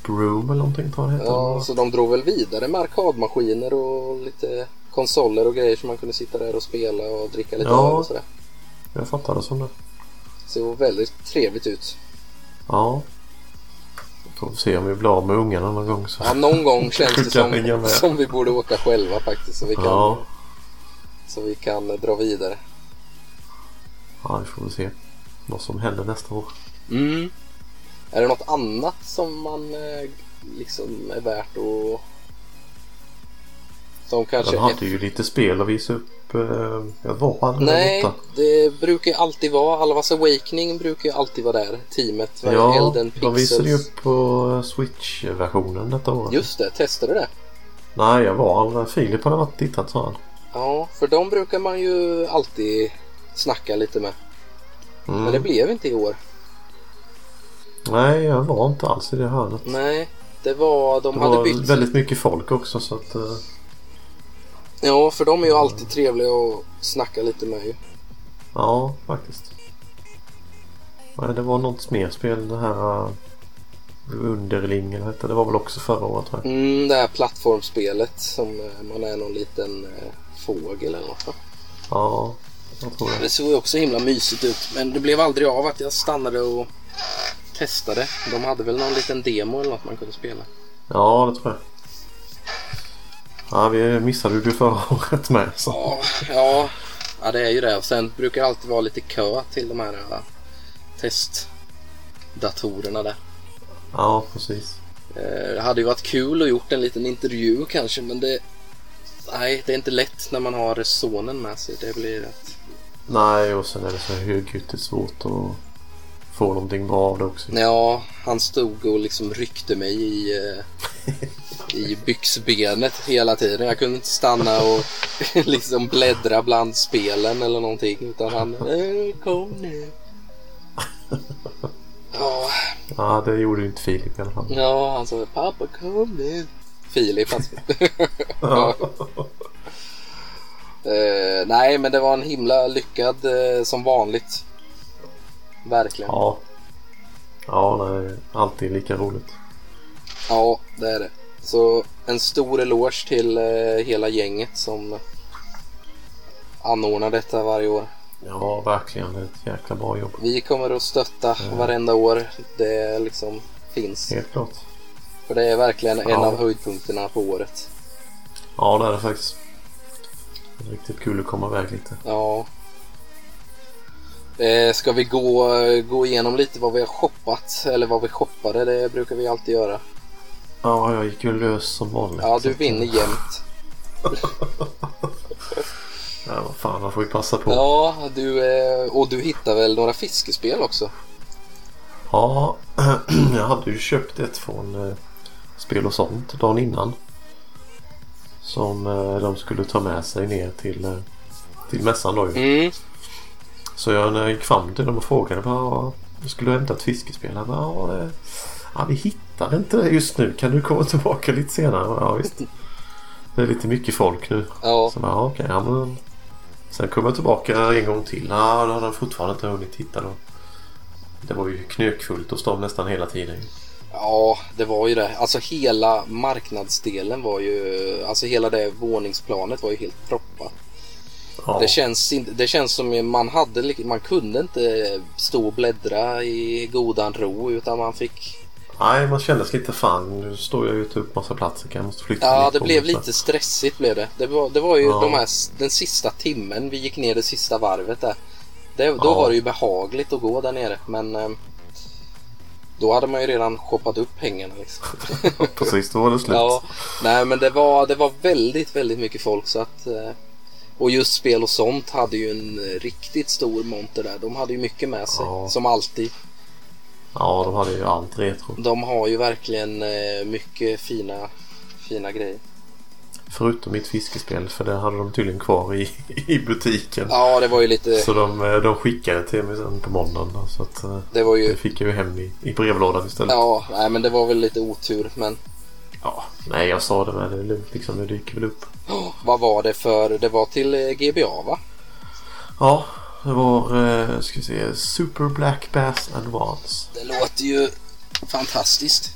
tap Room eller någonting tror jag det heter. Ja, så de drog väl vidare med arkadmaskiner och lite konsoler och grejer som man kunde sitta där och spela och dricka lite Ja. öl och sådär. Jag fattar det som det. Såg väldigt trevligt ut. Ja. Får vi se om vi blir av med ungarna någon gång. Så. Ja, någon gång känns det Skicka pengar som, med. som vi borde åka själva faktiskt. Så vi kan, Ja. så vi kan eh, dra vidare. ja, vi får väl se vad som händer nästa år. Är det något annat som man eh, liksom är värt att... Som kanske... De hade ju lite spel att visa upp. eh, Jag var aldrig Nej, borta. det brukar ju alltid vara. Halvas Awakening brukar ju alltid vara där. Teamet, var Ja, Elden de Pixels. visade ju upp på eh, Switch-versionen detta år. Just det, testade du det? Nej, jag var aldrig. Filip hade varit och tittat sa han. Ja, för de brukar man ju alltid snacka lite med. Mm. Men det blev inte i år. Nej, jag var inte alls i det hörnet. Nej, det var... De Det hade var bytt... väldigt mycket folk också så att... eh, Ja, för de är ju alltid trevliga att snacka lite med ju. Ja, faktiskt. Nej, det var något mer spel. Det här eh, Underling eller vad hette det? Det var väl också förra året tror jag. Mm, det här plattformsspelet som eh, man är någon liten eh, fågel eller något. va? Ja, jag tror det. Det såg ju också himla mysigt ut men det blev aldrig av att jag stannade och testade. De hade väl någon liten demo eller något man kunde spela. Ja, det tror jag. Ja, vi missade ju det förra året med. Så. Ja, ja, ja det är ju det. Och sen brukar det alltid vara lite kö till de här eh, testdatorerna där. Ja, precis. Eh, Det hade ju varit kul att gjort en liten intervju kanske men det... Nej, det är inte lätt när man har sonen med sig. Det blir rätt... Nej, och sen är det så högljutt svårt att få någonting bra av det också. Ja, han stod och liksom ryckte mig i, eh, i byxbenet hela tiden. Jag kunde inte stanna och liksom bläddra bland spelen eller någonting. Utan han... "Eh, Kom nu. Ja, Ja, det gjorde ju inte Filip i alla fall. ja, han sa pappa kom nu. Filip alltså. Ja. Eh, nej, men det var en himla lyckad eh, som vanligt. Verkligen. Ja. Ja, ja nej, alltid lika roligt. det är det. Så en stor eloge till eh, hela gänget som anordnar detta varje år. Ja, verkligen. Det är ett jäkla bra jobb. Vi kommer att stötta varenda år det liksom finns. Helt klart. För det är verkligen en Ja. av höjdpunkterna på året. Ja, det är det faktiskt. Det är Riktigt kul att komma iväg lite. Ja. Eh, ska vi gå, gå igenom lite vad vi har shoppat? Eller vad vi shoppade, det brukar vi alltid göra. Ja, jag gick ju lös som vanligt. Ja, du vinner jämt. Ja, vad fan, man får ju passa på. Ja, Ja, du, eh, och du hittar väl några fiskespel också? jag hade ju köpt ett från eh, Spel och sånt dagen innan. Som eh, de skulle ta med sig ner till, eh, till mässan då ju. Mm. Så jag, när jag gick fram till dem och frågade vad jag skulle hämta ett fiskespel. Han bara, ja, det- ja, vi hittar det inte just nu. Kan du komma tillbaka lite senare? Jag bara, Ja, visst. Det är lite mycket folk nu. Ja, Så jag bara, ja, okej. Ja, men... Sen kom jag tillbaka en gång till. Ja, då hade han fortfarande inte hunnit hitta då. Det var ju knökfullt hos dem nästan hela tiden. ja, det var ju det. Alltså hela marknadsdelen var ju, alltså hela det våningsplanet var ju helt proppat. Ja, Det, känns, inte- det känns som man hade, lik- man kunde inte stå och bläddra i godan ro utan man fick, Nej, man kändes lite fan. Nu står jag ju och tar upp massa platser. Jag måste flytta ja lite det på blev mig, så. lite stressigt blev det. Det var, det var ju Ja. de här, s- den sista timmen, vi gick ner det sista varvet där. Det, då Ja. var det ju behagligt att gå där nere men eh, då hade man ju redan shoppat upp pengarna liksom. Precis, då var det slut. Ja, nej men det var, det var väldigt, väldigt mycket folk så att eh, och just spel och sånt hade ju en eh, riktigt stor monter där. De hade ju mycket med sig Ja. som alltid. ja, de hade ju allt retro. De har ju verkligen eh, mycket fina, fina grejer. Förutom mitt fiskespel för det hade de tydligen kvar i, i butiken. Ja, det var ju lite, Så de, eh, de skickade till mig sen på måndagen. då, Så att, eh, det var ju, det fick jag ju hem i, i brevlådan istället. ja, nej men det var väl lite otur men Ja, nej, jag sa det med. Det är lugnt liksom. Det dyker väl upp. åh, oh, vad var det för, det var till eh, GBA va? Ja, det var eh, ska vi se, Super Black Bass Advance. Det låter ju fantastiskt.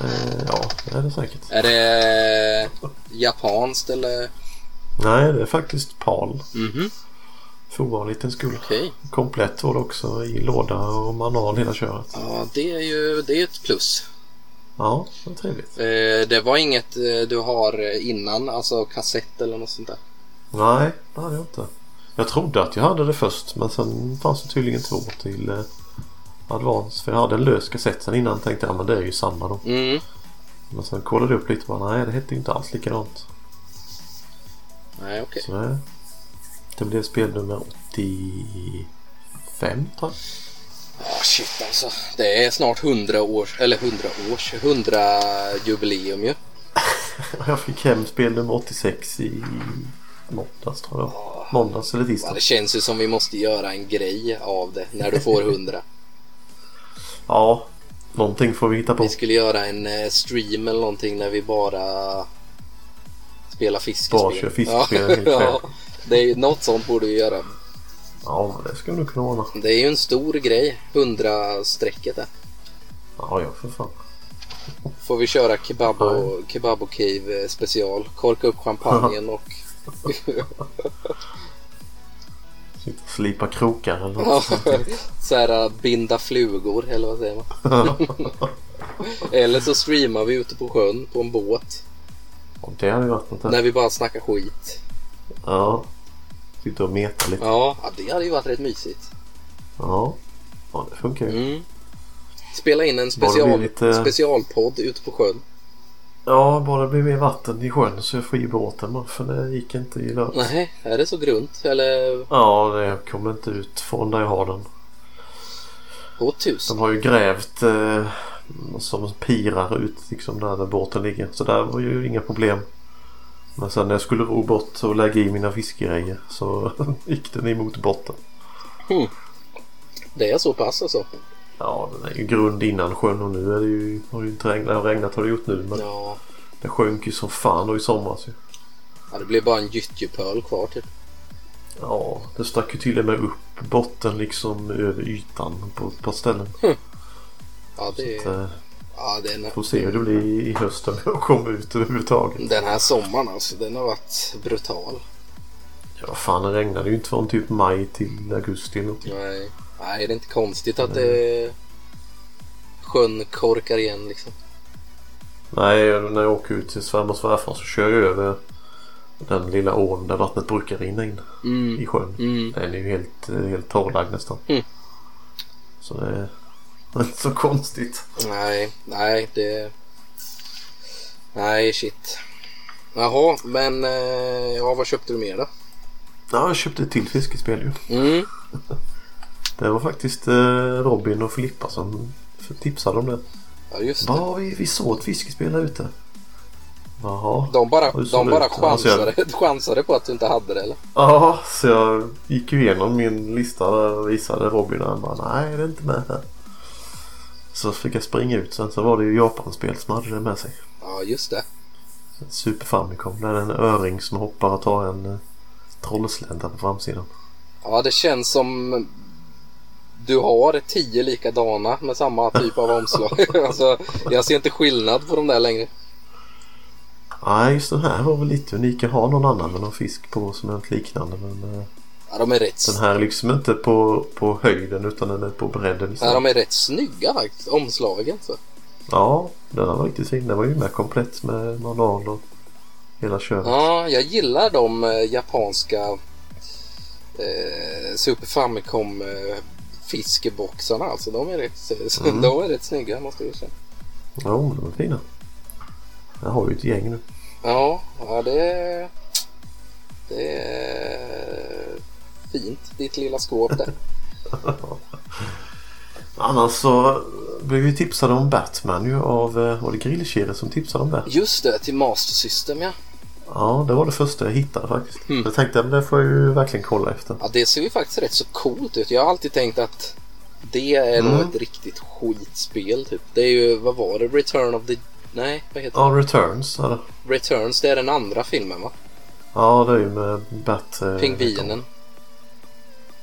Eh, ja, det är det säkert. Är det japanskt eller? Nej, det är faktiskt PAL. Mhm, För ovanlighetens skull. okej. Komplett var det också i låda och manual hela köret. Ja, det är ju det är ett plus. Ja, det var trevligt. Eh, det var inget eh, du har eh, innan, alltså kassett eller något sånt där? Nej, det hade jag inte. Jag trodde att jag hade det först men sen fanns det tydligen två till eh, Advance. För jag hade en lös kassett sen innan tänkte jag men det är ju samma då. Mm. Men sen kollade jag upp lite och bara nej det hette ju inte alls likadant. Nej, okej. Så det, det blev spel nummer 85 tror jag. Ah, shit alltså. Det är snart 100 år, eller 100 års, 100 jubileum ju. Jag fick hem spel nummer 86 i måndags tror jag. Måndags eller Ja, tisdag. det känns ju som vi måste göra en grej av det när du får 100. Ja, någonting får vi hitta på. Vi skulle göra en eh, stream eller någonting när vi bara spelar fiskespel. Bara kör fiskespel en hel kväll. ja, det är ju, något sånt borde vi göra. Ja, men det skulle du kunna ordna. Det är ju en stor grej, 100-strecket där. Ja, ja för fan. får vi köra kebab och, kebab och cave eh, special. Korka upp champagnen och... Sitta och slipa krokar eller något. Ja, så här, eh, binda flugor eller vad säger man? Eller så streamar vi ute på sjön på en båt. Och det hade ju varit något. När vi bara snackar skit. Ja. Sitta och meta lite. Ja, ja, det hade ju varit rätt mysigt. Ja. Ja, det funkar ju. Mm. Spela in en Bara det special, blir lite- specialpodd ute på sjön. Ja, bara det blir mer vatten i sjön så jag får i båten bara, för det gick inte i lördags. Nej, är det så grunt? Eller Ja, det kommer inte ut från där jag har den. på tusen? De har ju grävt eh, som pirar ut liksom där, där båten ligger. Så där var ju inga problem. Men sen när jag skulle ro bort och lägga i mina fiskgrejer så gick den emot botten. Det är så pass alltså. Ja, den är ju grund innan sjön och nu är det ju, har det ju inte regnat, regnat har det gjort nu men Ja. det sjönk ju som fan då i somras ju. ja det blev bara en gyttjepöl kvar typ. Ja, det stack ju till och med upp botten liksom över ytan på ett par ställen. Ja, det, Så, eh, ja, det är nä- Får se hur det blir i hösten när jag kommer ut överhuvudtaget. den här sommaren alltså. Den har varit brutal. Ja, fan det regnade ju inte från typ maj till augusti eller någonting. Nej, Nej det är inte konstigt att det... sjön korkar igen liksom. Nej, när jag åker ut till svärmor och svärfar så kör jag över den lilla ån där vattnet brukar rinna in i sjön. Mm. Den är ju helt, helt torrlagd nästan. Mm. Så det är inte så konstigt. Nej, nej det... Nej shit. Jaha, men eh, ja, vad köpte du mer då? Ja, jag köpte ett till fiskespel ju. Mm. Det var faktiskt eh, Robin och Filippa som tipsade om det. Ja just det. Ja, vi, vi såg ett fiskespel där ute. Jaha. De bara, Ja, det ser de bara ut. Ja, det ser chansade, chansade på att du inte hade det eller? Ja, så jag gick ju igenom min lista där och visade Robin och han bara nej det är inte med här. Så fick jag springa ut sen så var det ju Japanspel som hade det med sig. Ja just det. Super Famicom. Där är en öring som hoppar och tar en eh, trollslända på framsidan. Ja det känns som du har tio likadana med samma typ av omslag. alltså, jag ser inte skillnad på de där längre. Nej, just den här var väl lite unik. Jag har någon annan med någon fisk på som är något liknande. Men eh, Ja, de är rätt, den här är liksom inte på, på höjden utan den är på bredden ja, istället. de är rätt snygga faktiskt, omslagen. alltså. Så. Ja, den här var riktigt fin. Den var ju med komplett med manual och hela köret. Ja, jag gillar de eh, japanska eh, Super Famicom eh, fiskeboxarna. Alltså, de, är rätt, Mm. de är rätt snygga måste jag säga. Jo, de är fina. Jag har ju ett gäng nu. Ja, ja det, det är fint ditt lilla skåp där. Annars så blev vi tipsade om Batman ju av, eh, var det Grillkirre som tipsade om det? Just det, till Master System ja. Ja, det var det första jag hittade faktiskt. Mm. Jag tänkte men det får jag ju verkligen kolla efter. Ja, det ser ju faktiskt rätt så coolt ut. Jag har alltid tänkt att det är nog Mm. ett riktigt skitspel typ. Det är ju, vad var det? Return of the... Nej, vad heter Ja, Returns är det. det? Returns, det är den andra filmen va? Ja, det är ju med Bat... eh, Pingvinen.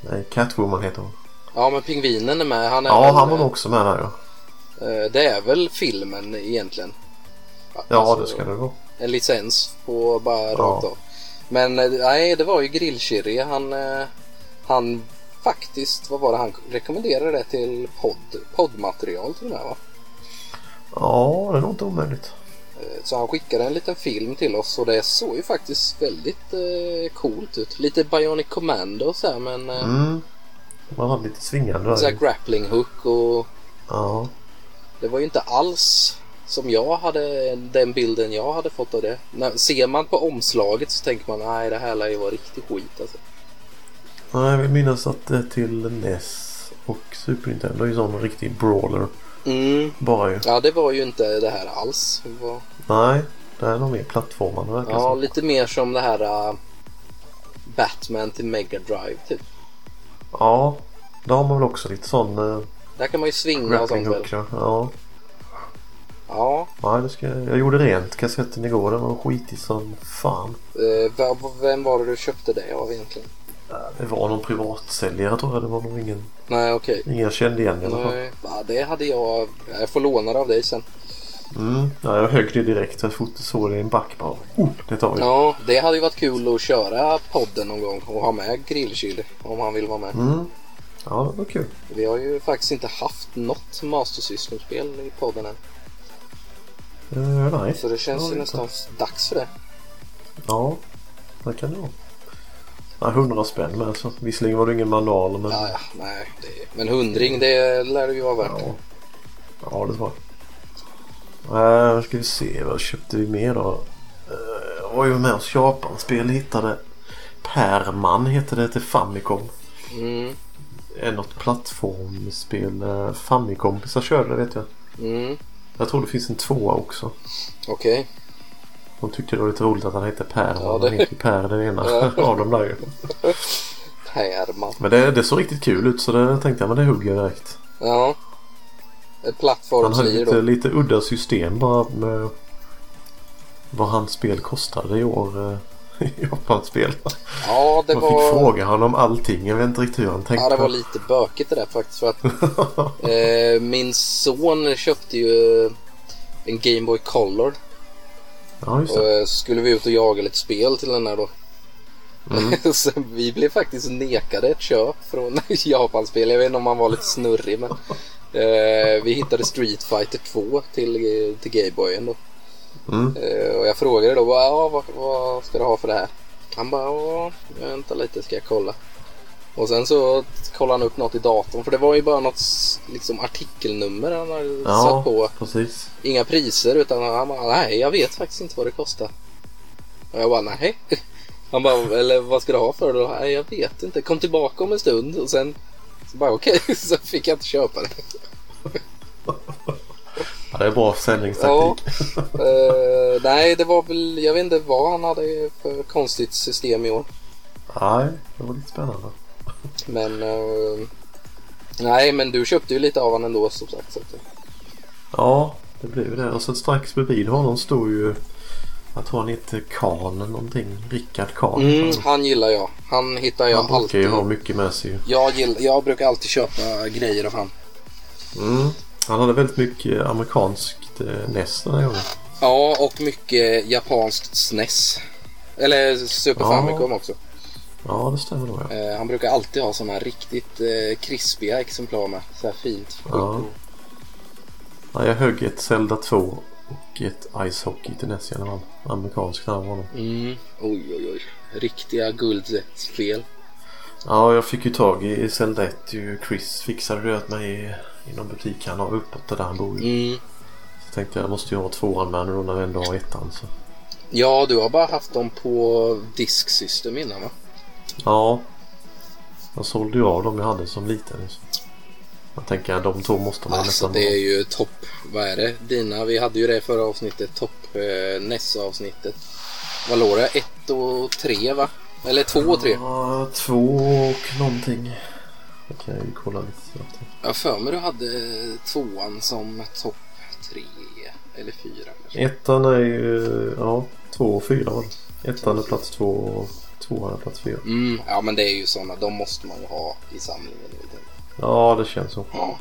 Nej, Catwoman heter hon. Ja, men pingvinen är med. Han är Ja, väl, han var nog också med där ja. eh, Det är väl filmen egentligen? Ja, Alltså, det ska det vara. En licens på bara rakt av. Men eh, nej, det var ju grillkirre. Han, eh, han faktiskt, vad var det han rekommenderade det till podd, poddmaterial till den här va? Ja, det är nog inte omöjligt. Eh, Så han skickade en liten film till oss och det såg ju faktiskt väldigt eh, coolt ut. Lite Bionic Commando så här men eh, Mm. Man hade lite svingande där. så här ju. grappling hook och Ja. det var ju inte alls som jag hade den bilden jag hade fått av det. När, ser man på omslaget så tänker man nej det här lär ju vara riktig skit alltså. Nej, jag vill minnas att det är till NES och Super Nintendo är ju sån riktig brawler. Mm. Bara ju. Ja det var ju inte det här alls. Det var, Nej, det är nog mer plattformande verkar ja ja. lite mer som det här eh, Batman till Mega Drive typ. ja, där har man väl också lite sån eh, Där kan man ju svinga och grappling sånt väl. hook. Ja. Ja. Ja, Nej, det ska... Jag gjorde rent kassetten igår. Den var skitig som fan. eh, v- vem var det du köpte det av egentligen? Det var någon privatsäljare tror jag. Det var nog ingen, Nej okej. ingen jag kände igen i alla fall. Nej, Ja, det hade jag. Jag får låna det av dig sen. Mm. Ja, jag högg det direkt. Jag fort såg det i en back bara. Oh, det tar vi. Ja, det hade ju varit kul att köra podden någon gång och ha med Grillkyl om han vill vara med. Mm. Ja, det var kul. Vi har ju faktiskt inte haft något Master System-spel i podden än. Eh, nej. Så det känns Ja, ju det- nästan dags för det. Ja, det kan det vara. Ja, 100 spänn med. Så. Visserligen var det ingen manual men... Ja, ja, nej. Det, men hundring, det lär det ju vara värt. Ja, ja det tror jag. Uh, ska vi se, vad köpte vi mer då? Eh, Jag var ju med oss Japanspel hittade Perman heter det till Famicom. Mm. Är något plattformsspel. eh, Famicompisar körde det vet jag. Mm, Jag tror det finns en tvåa också. Okej. De tyckte det var lite roligt att han hette Per. Ja, Ja, det- Han heter ju Per den ena Ja. av dem där ju. Härman. Men det, det såg riktigt kul ut så det tänkte jag men det hugger jag direkt. Ja. Ett Han hade plattformslir Alltså, lite, då. lite udda system bara med vad hans spel kostade i år. eh, I Japanspel. Ja, det Man fick var... fråga honom allting. Jag vet inte riktigt hur han tänkte. Ja, det var lite bökigt det där faktiskt. För att, eh, min son köpte ju en Game Boy Color. ja, just Och det. eh, skulle vi ut och jaga lite spel till den här då. så vi blev faktiskt nekade ett köp från Japanspel. Jag vet inte om han var lite snurrig men. Eh, vi hittade Street Fighter 2 till, eh, till Gameboyen då. Mm. Eh, och jag frågade då bara, ja, vad, vad ska du ha för det här? Han bara, ja, vänta lite ska jag kolla. Och sen så kollade han upp något i datorn för det var ju bara något s- liksom, artikelnummer han hade Ja, satt på. precis. Inga priser utan han bara, nej jag vet faktiskt inte vad det kostar. Och jag bara, nej. Han bara, eller vad ska du ha för det då? Nej jag vet inte. Kom tillbaka om en stund och sen så bara okej, så fick jag inte köpa det. Ja, det är bra försäljningstaktik. Eh, nej, det var väl, jag vet inte vad han hade för konstigt system i år. Nej, det var lite spännande. Men eh, nej, men du köpte ju lite av han ändå som sagt. Så att, eh, Ja, det blev ju det. Och sen strax bredvid honom stod ju... Jag tror han heter Kahn någonting. Rickard Kahn. mm, han gillar jag. Han hittar jag han brukar alltid. ju ha mycket med sig ju. Jag, gillar, jag brukar alltid köpa grejer av han. Mm. Han hade väldigt mycket amerikanskt eh, näst den här gången. Ja, och mycket japanskt SNES. Eller Super Ja. Famicom också. Ja, det stämmer nog ja. Eh, han brukar alltid ha sådana här riktigt eh, krispiga exemplar med. Så här fint. Ja. ja. Jag högg ett Zelda 2 och ett Ice Hockey till näst genom amerikanskt namn honom. Mm. Oj, oj, oj. Riktiga guldspel. Ja, jag fick ju tag i i Zelda 1 ju. Chris fixade det åt mig i, i någon butik han har uppåt där han bor ju. Mm. Så tänkte jag, jag måste ju ha tvåan med nu då när vi ändå har ettan så. Ja, du har bara haft dem på Disk System innan va? Ja. Jag sålde ju av dem jag hade som liten. Så. Jag tänker att de två måste man Alltså nästan det är ju topp, vad är det? Dina, vi hade ju det i förra avsnittet, topp eh, nästa avsnittet. Vad låg det? Ett och tre va? Eller två och tre? Ja, två och någonting. Det kan jag ju kolla lite snabbt. här. Jag har för mig du hade tvåan som topp tre eller fyra. kanske. Ettan är ju... Ja, två och fyra var det. Ettan är plats två och tvåan är plats fyra. Mm, ja men det är ju sådana, de måste man ju ha i samlingen. Ja, det känns så. Ja,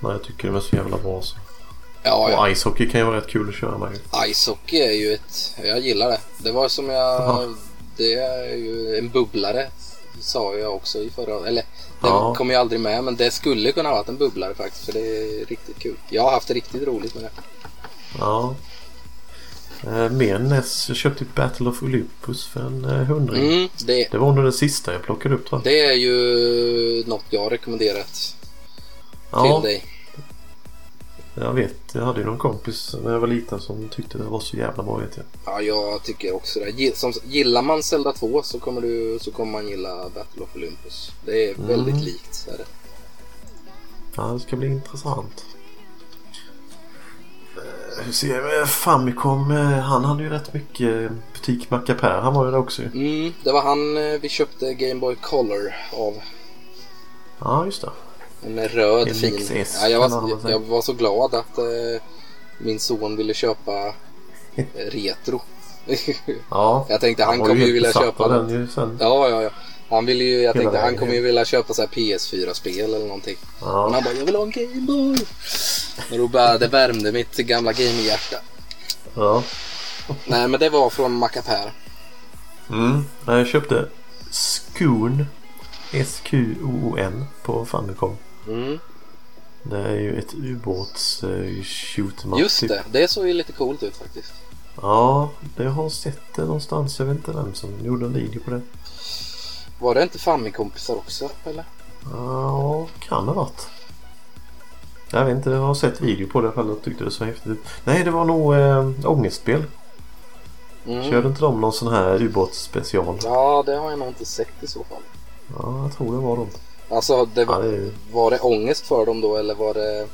Nej, jag tycker de är så jävla bra så. ja. ja. Och ishockey kan ju vara rätt kul att köra med ju. Icehockey är ju ett... Jag gillar det. Det var som jag... Ja. Det är ju en bubblare. Sa jag också i förra... Eller det Ja. kom ju aldrig med men det skulle kunna ha varit en bubblare faktiskt. För det är riktigt kul. Jag har haft det riktigt roligt med det. Ja. Eh, mer än Ness. Jag köpte ju Battle of Olympus för en eh, hundring. Mm, det, Det var nog den sista jag plockade upp va? det är ju något jag har rekommenderat ja, till dig. jag vet. Jag hade ju någon kompis när jag var liten som tyckte det var så jävla bra vet jag. Ja, jag tycker också det. Gi- Som, gillar man Zelda 2 så kommer, du, så kommer man gilla Battle of Olympus. Det är väldigt Mm. likt. Är det. Ja, det ska bli intressant. Eh, Hur ser jag? Eh, Famicom, eh, han hade ju rätt mycket eh, butik Macapär. Han var ju där också ju. Mm, det var han eh, vi köpte Game Boy Color av. Ja, just det. En röd En fin. XS, Ja, jag, kan man var, väl jag, säga. jag var så glad att eh, min son ville köpa eh, retro. Ja, jag tänkte han var ju kommer ju helt vilja besatt köpa av något. den ju sen. Ja, ja, ja. Han ville ju, jag Hela tänkte han vägen. kommer ju vilja köpa så här PS4-spel eller någonting. Men Ja. han bara, jag vill ha en Gameboy. Och då bara, det värmde mitt gamla gaming-hjärta. ja. Nej, men det var från Macapär. Mm. Nej, Jag köpte Skoon. S-Q-O-O-N på Famicom. Mm. Det är ju ett ubåts eh, shoot 'em up, Just typ. det, det såg ju lite coolt ut faktiskt. Ja, det har jag sett det någonstans. Jag vet inte vem som gjorde en video på det. Var det inte Famicompisar också, eller? Ja, kan ha varit. Jag vet inte, jag har sett video på det i alla fall och tyckte det så häftigt ut. Nej, det var nog eh, ångestspel. Mm. Körde inte de någon sån här ubåtsspecial? Ja, det har jag nog inte sett i så fall. Ja, jag tror det var de. Alltså, det Ja, var, det är ju... var det ångest för dem då eller var det...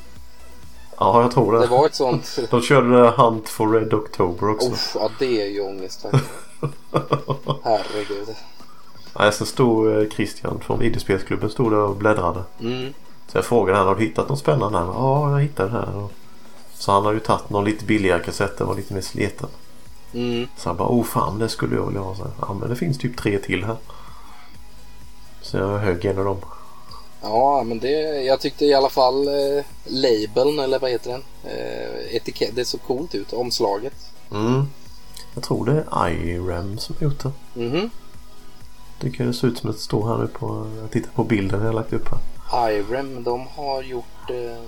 Ja, jag tror det. Det var ett sånt... De körde Hunt for Red October också. Uff, ja, det är ju ångest faktiskt. Herregud. Nej, sen stod eh, Christian från videospelsklubben stod där och bläddrade. Mm. Så jag frågade han har du hittat något spännande här? Ja, jag hittade det här. Och- Så han har ju tagit någon lite billigare kassett. Den var lite mer sleten. Mm. Så han bara, oh fan det skulle jag vilja ha. Så jag, ja men det finns typ tre till här. Så jag högg en av dem. Ja, men det, jag tyckte i alla fall eh, labeln, eller vad heter den? Eh, etikett, det såg coolt ut, omslaget. Mm. Jag tror det är IRAM som har gjort det. Mhm. Tycker det ser ut som att det står här nu på... Jag tittar på bilden jag har lagt upp här. Irem, de har gjort... Eh,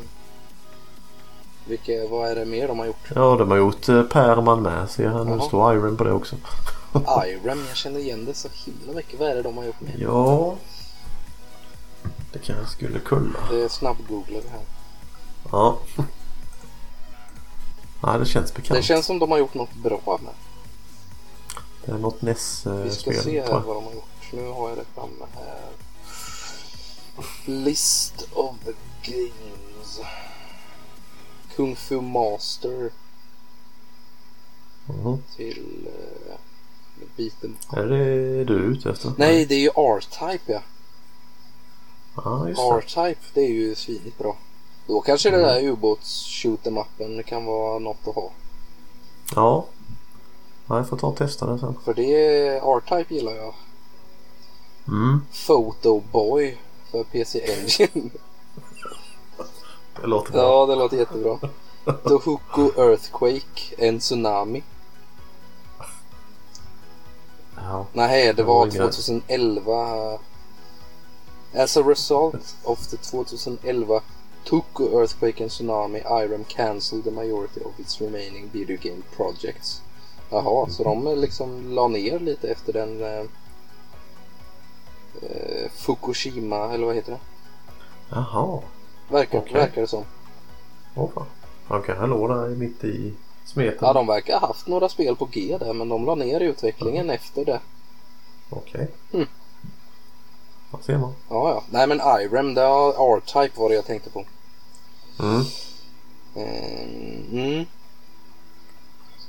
vilka, vad är det mer de har gjort? Ja, de har gjort eh, Perman med. Ser jag här nu. Jaha. står IRAM på det också. Irem, jag känner igen det så himla mycket. Vad är det de har gjort med? Ja... Det kanske jag skulle kolla. Det är snabb-googlar det här. Ja. Ja, det känns bekant. Det känns som de har gjort något bra med. Det är något eh, Vi ska NES-spel. se här vad de har gjort. Nu har jag det framme här. List of games. Kung Fu Master till uh, biten. Mhm. Är det du är ute efter? Nej, det är ju R-Type ja. Ja, just det. Mm. R-Type, det är ju svinigt bra. Då kanske det där ubåts shoot em upen kan vara något att ha. Ja. ja. Jag får ta och testa det sen. För det R-Type gillar jag. Mm. Photo Boy för PC Engine. Det låter bra. Ja, det låter jättebra. Tohoku Earthquake, en tsunami. Ja. Nej, det Det var var inga- 2011. As a result of the 2011 Tohoku Earthquake and Tsunami, Irem cancelled the majority of its remaining video game projects. Jaha, så de liksom la ner lite efter den eh, eh, Fukushima, eller vad heter det? Jaha. Verkar, Okej. verkar det som. Åh fan. Han kan låg där mitt i smeten. Ja, de verkar ha haft några spel på G där, men de la ner utvecklingen efter det. Okej. Mm. Vad ser man? Ja, ja. Nej, men Irem, det var R-Type var det jag tänkte på. Mm. Ehm, Mm.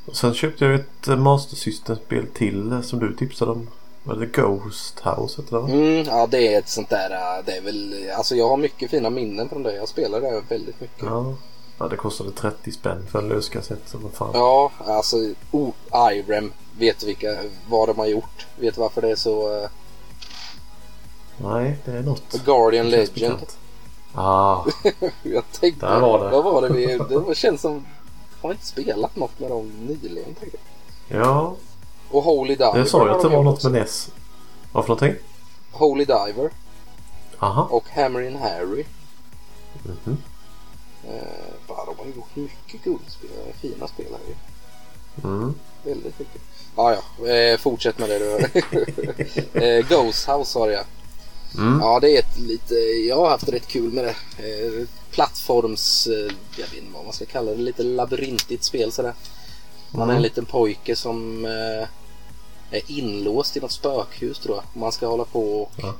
Och sen köpte jag ett eh, Master System-spel till eh, som du tipsade om. Var det Ghost House heter det va? Mm, ja, det är ett sånt där... äh, Det är väl, alltså jag har mycket fina minnen från det. Jag spelar det väldigt mycket. Ja, Ja. ja. Det kostade 30 spänn för en löskassett. Så vad fan. alltså oh, Irem. Vet du vilka, vad de har gjort? Vet du varför det är så... eh, Nej, det är något. Guardian Det känns Legend. bekant. Ah, Jag tänkte... Där var det. Vad var det vi... Det var, känns som... Har inte spelat något med dem nyligen, tänker jag. ja. Och Holy Diver. Jag sa ju att det har de var gjort något också. med NES. Vad för någonting? Holy Diver Aha. och Hammer in Harry. Mhm. Eh, fan, de har gjort mycket guldspel. Fina spel här ju. Mm. Väldigt mycket. Ah, ja, eh, fortsätt med det du. eh, Ghost House har jag. Mm. Ja, det är ett lite, jag har haft rätt kul med det. Eh, plattforms, eh, jag vet inte vad man ska kalla det, lite labyrintigt spel sådär. Man är en liten pojke som eh, är inlåst i något spökhus tror jag. Man ska hålla på och... Aha.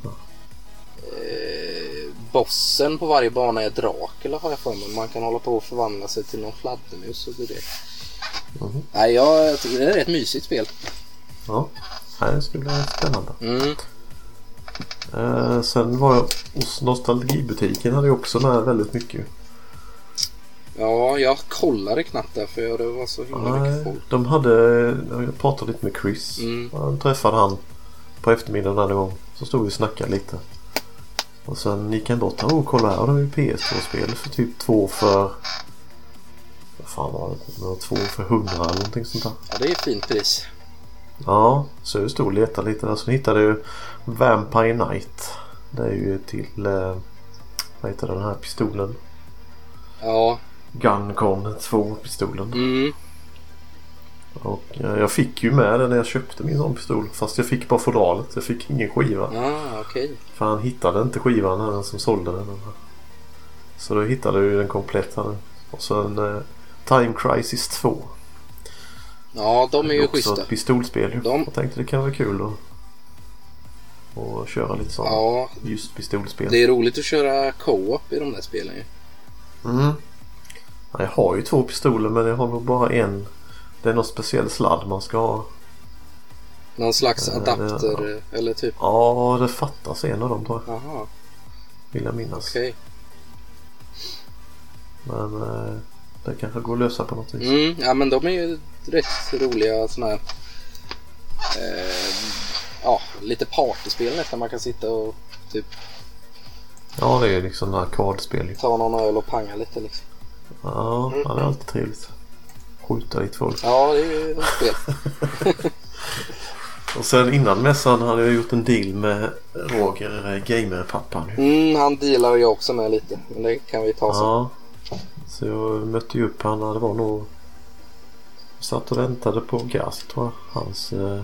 Eh, bossen på varje bana är Dracula har jag för mig. Man kan hålla på och förvandla sig till någon fladdermus och det. Mhm. Nej, jag tycker det är ett mysigt spel. Ja. Nej, det skulle vara spännande. Mm. Eh, sen var jag hos Nostalgibutiken. hade ju också med väldigt mycket. Ja, jag kollade knappt där för det var så himla mycket Nej, folk. de hade... Jag pratade lite med Chris. Mm. Jag träffade han på eftermiddagen en gång. Så stod vi och snackade lite. Och sen gick han bort. Åh, kolla här. De har ju PS2-spel för typ två för... Vad fan var det? det? var Två för hundra eller någonting sånt där. Ja, det är ett fint pris. Ja, så jag stod och letade lite där. Sen hittade jag Vampire Knight. Det är ju till... Eh, vad heter den här pistolen? Ja, Guncon 2-pistolen. mm. Och eh, jag fick ju med den när jag köpte min sån pistol. Fast jag fick bara fodralet. Jag fick ingen skiva. ah, okej. För han hittade inte skivan här, den som sålde den. Så då hittade jag ju den komplett här. Och sen eh, Time Crisis 2. Ja, de är ju också schyssta. ett pistolspel. ju. De- Jag tänkte det kan vara kul att, att köra lite sånt. Ja, Just pistolspel. det är roligt att köra co-op i de där spelen ju. Mm. Ja, har ju två pistoler men jag har nog bara en. Det är någon speciell sladd man ska ha. Någon slags Eh, adapter eller typ? Ja, det fattas en av dem tror jag. Aha, Vill jag minnas. okej. Men eh, det kanske går att lösa på något vis. Mm, ja men de är ju rätt roliga sådana här... Eh, ja, lite partyspel nästan. Man kan sitta och typ Ja, det är ju liksom arkadspel. ju. ta någon öl och panga lite liksom. Ja, Mm. ja, det är alltid trevligt. Skjuta dit folk. Ja, det är ju ett spel. Och sen innan mässan hade jag gjort en deal med Roger, eh, gamer-pappan. Mm, han dealar jag också med lite. Men det kan vi ta sen. Ja. alltså. Så jag mötte ju upp han. Det var nog... Satt och väntade på Gast tror jag. Hans eh,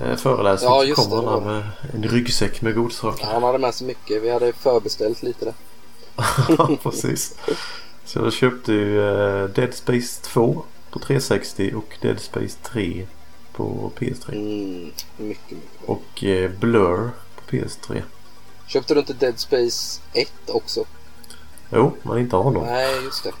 eh, föreläsning. Ja, Så just kom det, han det där med en ryggsäck med godsaker. Han hade med sig mycket. Vi hade förbeställt lite där. Ja, precis. Så jag köpte ju eh, Dead Space 2 på 360 och Dead Space 3 på PS3. Mm, mycket, mycket. Och eh, Blur på PS3. Köpte du inte Dead Space 1 också? Jo, men inte av dem. Nej, just det.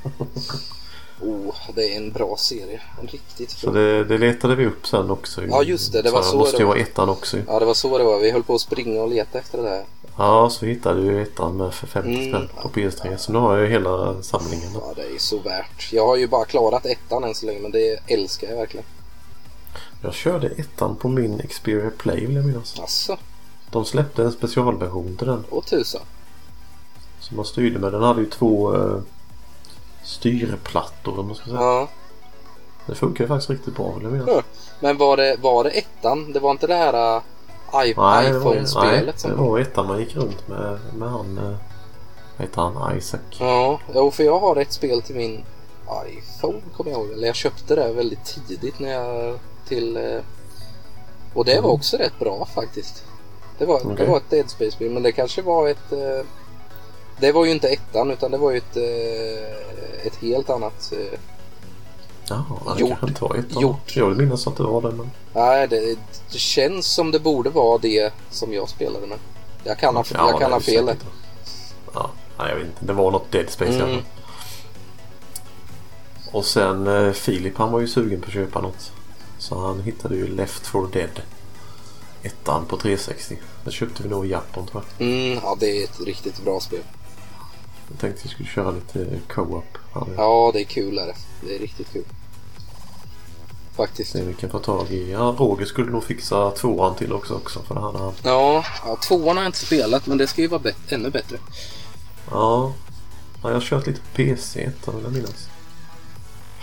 Oh, det är en bra serie. En riktigt Så bra. det, det letade vi upp sen också. ju. Ja, just det, det var så Det måste det ju var. vara ettan också. ju. Ja, det var så det var. Vi höll på att springa och leta efter det där. Ja, så hittade du ettan med för 50 Mm. spänn på PS3. Så nu har jag ju hela samlingen. Ja, det är så värt. Jag har ju bara klarat ettan än så länge, men det älskar jag verkligen. Jag körde ettan på min Xperia Play vill jag minnas. Alltså, De släppte en specialversion till den. åh tusan. Som man styrde med. Den hade ju två eh, styrplattor om man ska säga. Ja. Det funkar ju faktiskt riktigt bra vill jag minnas. Ja, Men var det, var det ettan? Det var inte det här äh, i- det var- nej, iPhone-spelet? det Som... var ettan man gick runt med, med han... eh, Vad heter han? Isaac. Ja, jo, för jag har ett spel till min iPhone, kommer jag ihåg. Eller jag köpte det väldigt tidigt när jag till... eh, Och det var också rätt bra faktiskt. Det var, det Mm. Okej. var ett Dead Space-spel, men det kanske var ett... eh, Det var ju inte ettan, utan det var ju ett, eh, ett helt annat eh, Ja, det Hjort. kanske inte var ettan. Hjort. Jag vill minnas att det var det men... Nej, det, det känns som det borde vara det som jag spelade med. Jag kan ha, jag Ja, kan ha det är fel. säkert. Ja, nej, jag vet inte. Det var något Dead Space i alla Mm. fall. Och sen eh, Filip han var ju sugen på att köpa något. Så han hittade ju Left 4 Dead. Ettan på 360. Det köpte vi nog i Japan tror jag. Mm, ja, det är ett riktigt bra spel. Jag tänkte vi skulle köra lite co-op. Ja, Ja, det är kul. Är det. det är riktigt kul. Faktiskt. Se om vi kan få tag i. Ja, Roger skulle nog fixa tvåan till också. också för han, han. Ja, ja, tvåan har jag inte spelat, men det ska ju vara bet- ännu bättre. Ja. ja, jag har kört lite PC ettan vill jag minnas.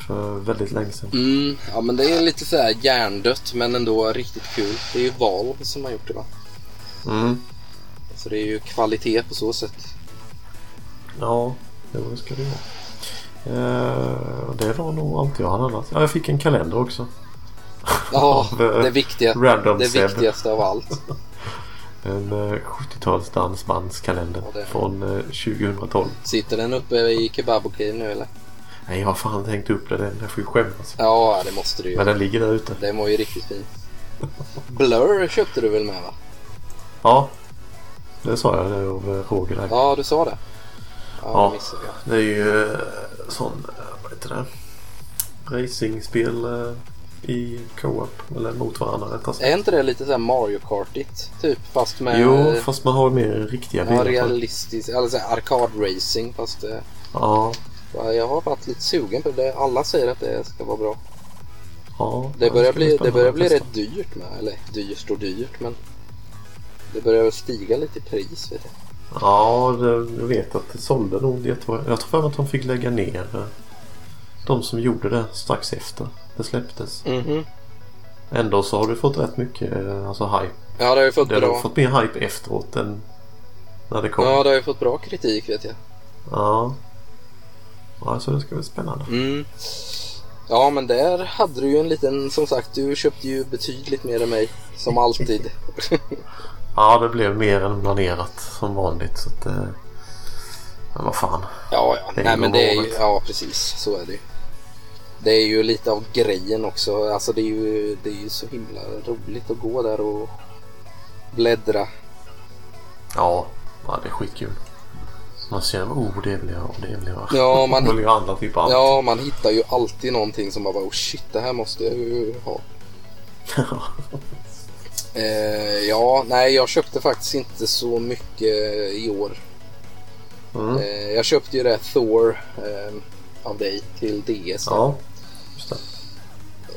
För väldigt länge sedan. Mm, ja, men det är lite så här hjärndött, men ändå riktigt kul. Det är ju Valve som har gjort det, va? Mm. Så det är ju kvalitet på så sätt. Ja, jo, det ska det vara. Eh, det var nog allt jag hade annat. Ja, jag fick en kalender också. Ja, det- det, viktiga, eh, Random det Seb. viktigaste av allt. En eh, 70-tals dansbandskalender Ja, det- från eh, 2012. Sitter den uppe i kebabokrigen nu, eller? Nej, jag har fan tänkt upp det. Den- Jag får ju skämmas. Ja, det måste du ju. Men den ligger där ute. Den var ju riktigt fin. Blur köpte du väl med va? Ja, det sa jag det av eh, Roger där. Ja, du sa det. Ja, Ja. det missade jag. Det är ju eh, sån, eh, vad heter det? Racingspel eh, i co-op. Eller mot varandra rättare sagt. Är inte det lite såhär Mario Kartigt? Typ fast med Jo, eh, fast man har ju mer riktiga ja, bilar. tror jag. realistisk, eller såhär arkadracing fast eh, Ja, ja, jag har varit lite sugen på det. Alla säger att det ska vara bra. ja. Det ska börjar bli bli, det spännande börjar att bli testa. rätt dyrt med, eller dyrt och dyrt men det börjar väl stiga lite i pris vet jag. Ja, det, jag vet att det sålde nog jättebra. Jag tror för att de fick lägga ner eh, de som gjorde det strax efter det släpptes. Mhm. Ändå så har du fått rätt mycket eh, alltså hype. Ja, det har ju fått Det har bra. du fått mer hype efteråt än när det kom. Ja, Ja. det har ju fått bra kritik vet jag. ja. så det ska bli spännande. Mm. Ja, men där hade du ju en liten, som sagt, du köpte ju betydligt mer än mig. Som alltid. Ja, det blev mer än planerat som vanligt. Så att, eh, men vad fan. Ja, ja. Det är Nej, men det är ju, normalt. ja precis, så är det ju. Det är ju lite av grejen också. Alltså det är ju, det är ju så himla roligt att gå där och bläddra. Ja, ja det är skitkul. Man känner oh det vill jag ha, det vill jag ha. Ja, man- vill ju handla typ allt. Ja, man hittar ju alltid någonting som man bara oh shit, det här måste jag ju ha. Eh, ja, nej jag köpte faktiskt inte så mycket i år. Mm. Eh, jag köpte ju det här Thor eh, av dig till DS. Ja, just det.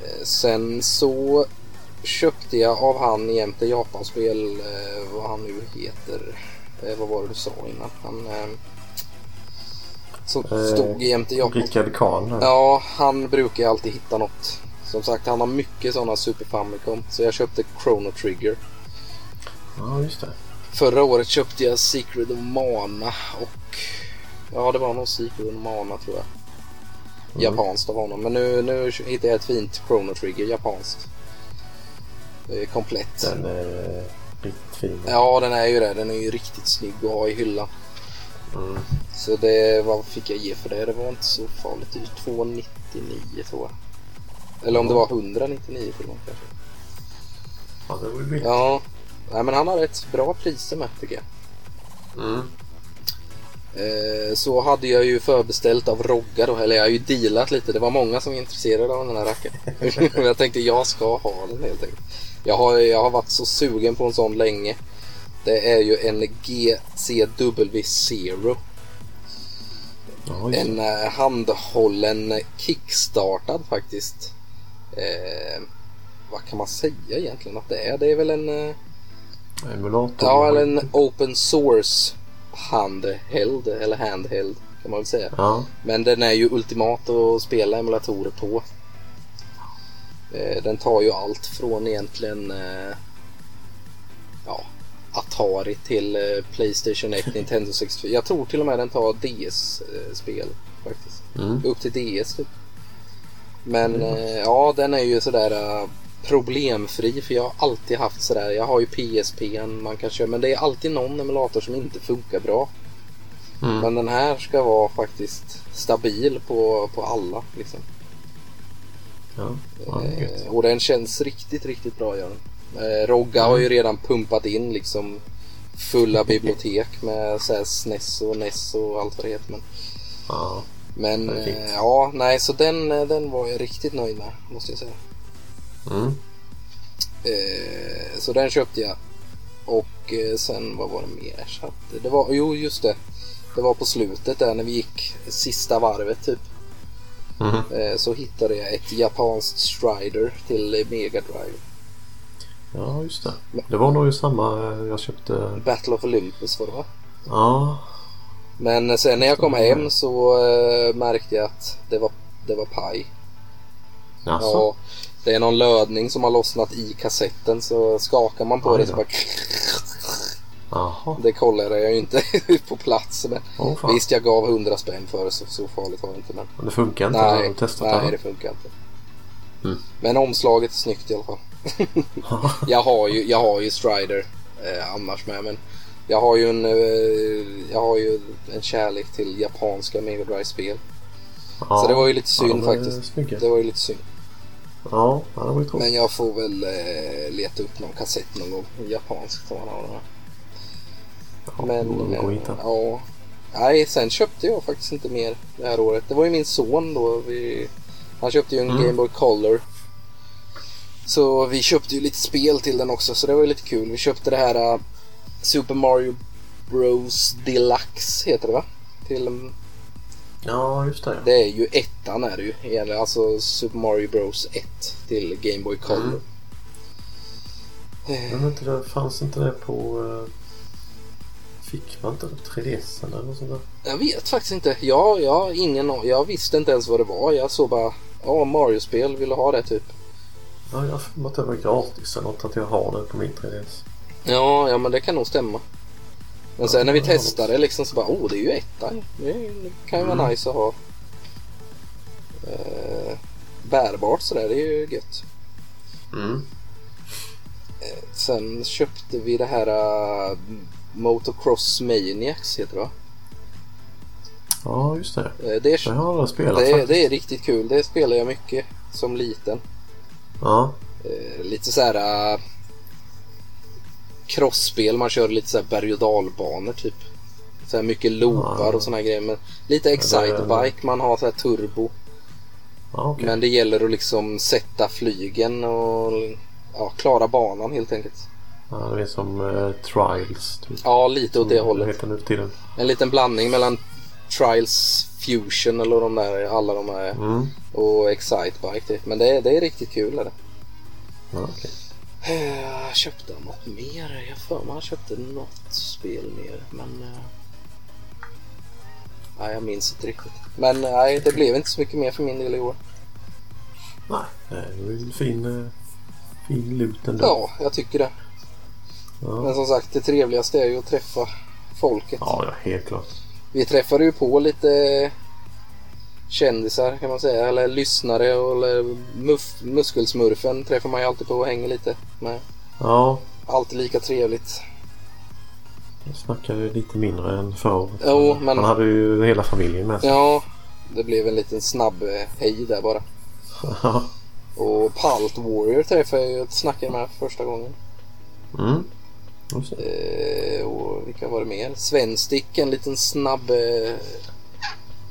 Eh, Sen så köpte jag av han jämte Japanspel, eh, vad han nu heter. Eh, vad var det du sa innan? Han, eh, som Eh, stod jämte Japan. Rickard Kahn där. Ja, han brukar ju alltid hitta något. Som sagt, han har mycket sådana Super Famicom. Så jag köpte Chrono Trigger. ja, just det. Förra året köpte jag Secret of Mana och... Ja, det var nog Secret of Mana tror jag. Japanskt av honom. Men nu, nu hittade jag ett fint Chrono Trigger, japanskt. Det är komplett. Den eh, är riktigt fin. Ja, den är ju det. Den är ju riktigt snygg att ha i hyllan. Mm. Så det, vad fick jag ge för det? Det var inte så farligt dyrt. 299 tror jag. Eller om det var 199 till och med kanske. Ja, det var ju billigt. Ja, nej, men han har rätt bra priser med tycker jag. Mm. Eh, Så hade jag ju förbeställt av Rogga då, eller jag har ju dealat lite. Det var många som var intresserade av den här rackaren. jag tänkte jag ska ha den helt enkelt. Jag har, jag har varit så sugen på en sån länge. Det är ju en GCW Zero. Ja, just En det. eh, handhållen eh, kickstartad faktiskt. Eh, vad kan man säga egentligen att det är? Det är väl en... Eh, Emulator. Ja, eller en open source handheld, eller handheld kan man väl säga. Ja. Men den är ju ultimat att spela emulatorer på. Eh, Den tar ju allt från egentligen eh, ja, Atari till eh, Playstation 1, Nintendo 64. Jag tror till och med den tar DS-spel faktiskt. Mm. Upp till DS typ. Men eh, ja, den är ju sådär eh, problemfri för jag har alltid haft sådär. Jag har ju PSP man kan köra men det är alltid någon emulator som inte funkar bra. Mm. Men den här ska vara faktiskt stabil på, på alla. Liksom. Ja, ja, det är gött. Eh, och den känns riktigt, riktigt bra. Gör den. Eh, Rogga har Mm. ju redan pumpat in liksom fulla bibliotek med så här SNES och NES och allt vad det heter. Men, Ja. men Det är fint. eh, ja, nej, så den, eh, den var jag riktigt nöjd med måste jag säga. Mm. Eh, så den köpte jag. Och eh, sen vad var det mer jag köpte? Det var, jo, just det. Det var på slutet där när vi gick sista varvet typ. Mm. Eh, så hittade jag ett japanskt Strider till eh, Mega Drive. Ja, just det. Det var nog ju samma eh, jag köpte. Battle of Olympus var det va? Ja, Men eh, sen när jag kom hem så eh, märkte jag att det var, det var paj. alltså. Ja, det är någon lödning som har lossnat i kassetten så skakar man på Aj det så då. bara... Jaha. Det kollade jag ju inte på plats. Men Åh fan. visst, jag gav 100 spänn för det så, så farligt var det inte. Men Men Det funkar inte. Nej. Har nej, du testat nej det det? funkar inte. Mm. Men omslaget är snyggt i alla fall. jag, har ju, jag har ju Strider eh, annars med men jag har ju en, eh, jag har ju en kärlek till japanska Mega Drive spel Ja. Så det var ju lite synd de är faktiskt. Snygga. Det var ju lite synd. Ja, ja, det var ju tråkigt. Men jag får väl eh, leta upp någon kassett någon gång. Japansk som man har den här. Ja, Men, det går att eh, hitta. ja. Nej, sen köpte jag faktiskt inte mer det här året. Det var ju min son då. Vi, han köpte ju en Mm. Game Boy Color. Så vi köpte ju lite spel till den också, så det var ju lite kul. Vi köpte det här eh, Super Mario Bros Deluxe, heter det va? Till, Ja, just det. det är ju ettan är det ju. egentligen. Alltså Super Mario Bros 1 till Game Boy Color. Eh, Mm. Men var inte det, fanns inte det på... eh, Fick man inte det på 3DS eller något sånt där? Jag vet faktiskt inte. Jag, jag, ingen, a- jag visste inte ens vad det var. Jag såg bara, ja, Mario-spel, vill du ha det typ? Ja, jag har för mig att det var gratis eller något att jag har det på min 3DS. Ja, ja men det kan nog stämma. Men sen när vi Ja, det var testade liksom så bara, oh det är ju ettan. Det är- det kan ju vara Mm. nice att ha. Eh, bärbart sådär, det är ju gött. Mm. Sen köpte vi det här eh, Motocross Maniacs heter det va? Ja, just det. Eh, det, Det är, har jag spelat det, är, faktiskt. det är riktigt kul. Det spelar jag mycket som liten. Ja. Eh, lite så här eh, crossspel man kör lite så här berg och dalbanor typ. Så här mycket loopar och såna här grejer. Men lite excitebike, man har så här turbo. Ja, okej. Men det gäller att liksom sätta flygen och ja, klara banan helt enkelt. Ja, det är som eh, Trials. Typ. Ja, lite åt det Det hållet. heter nu för tiden. En liten blandning mellan Trials Fusion eller de där, alla de här Mm. och Excitebike typ. Men det, är- det är riktigt kul. Är det. Ja, okej. Eh, köpte han något mer? Jag har för mig han köpte något spel mer. Men... eh, Nej, jag minns inte riktigt. Men nej, det blev inte så mycket mer för min del i år. Nej, det är ju en fin, eh, fin lut ändå. Ja, jag tycker det. Ja. Men som sagt, det trevligaste är ju att träffa folket. Ja, ja, helt klart. Vi träffade ju på lite kändisar kan man säga. Eller lyssnare och- eller muff, muskelsmurfen träffar man ju alltid på och hänger lite med. Ja, Alltid lika trevligt. jag snackar ju lite mindre än förra året. Jo, men- Han hade ju hela familjen med sig. Ja, det blev en liten snabb eh, hej där bara. Ja. Och Palt Warrior träffade jag ju och snackade med första gången. mm. Just det. Eh, och vilka var det mer? Svenstick, en liten snabb... Eh,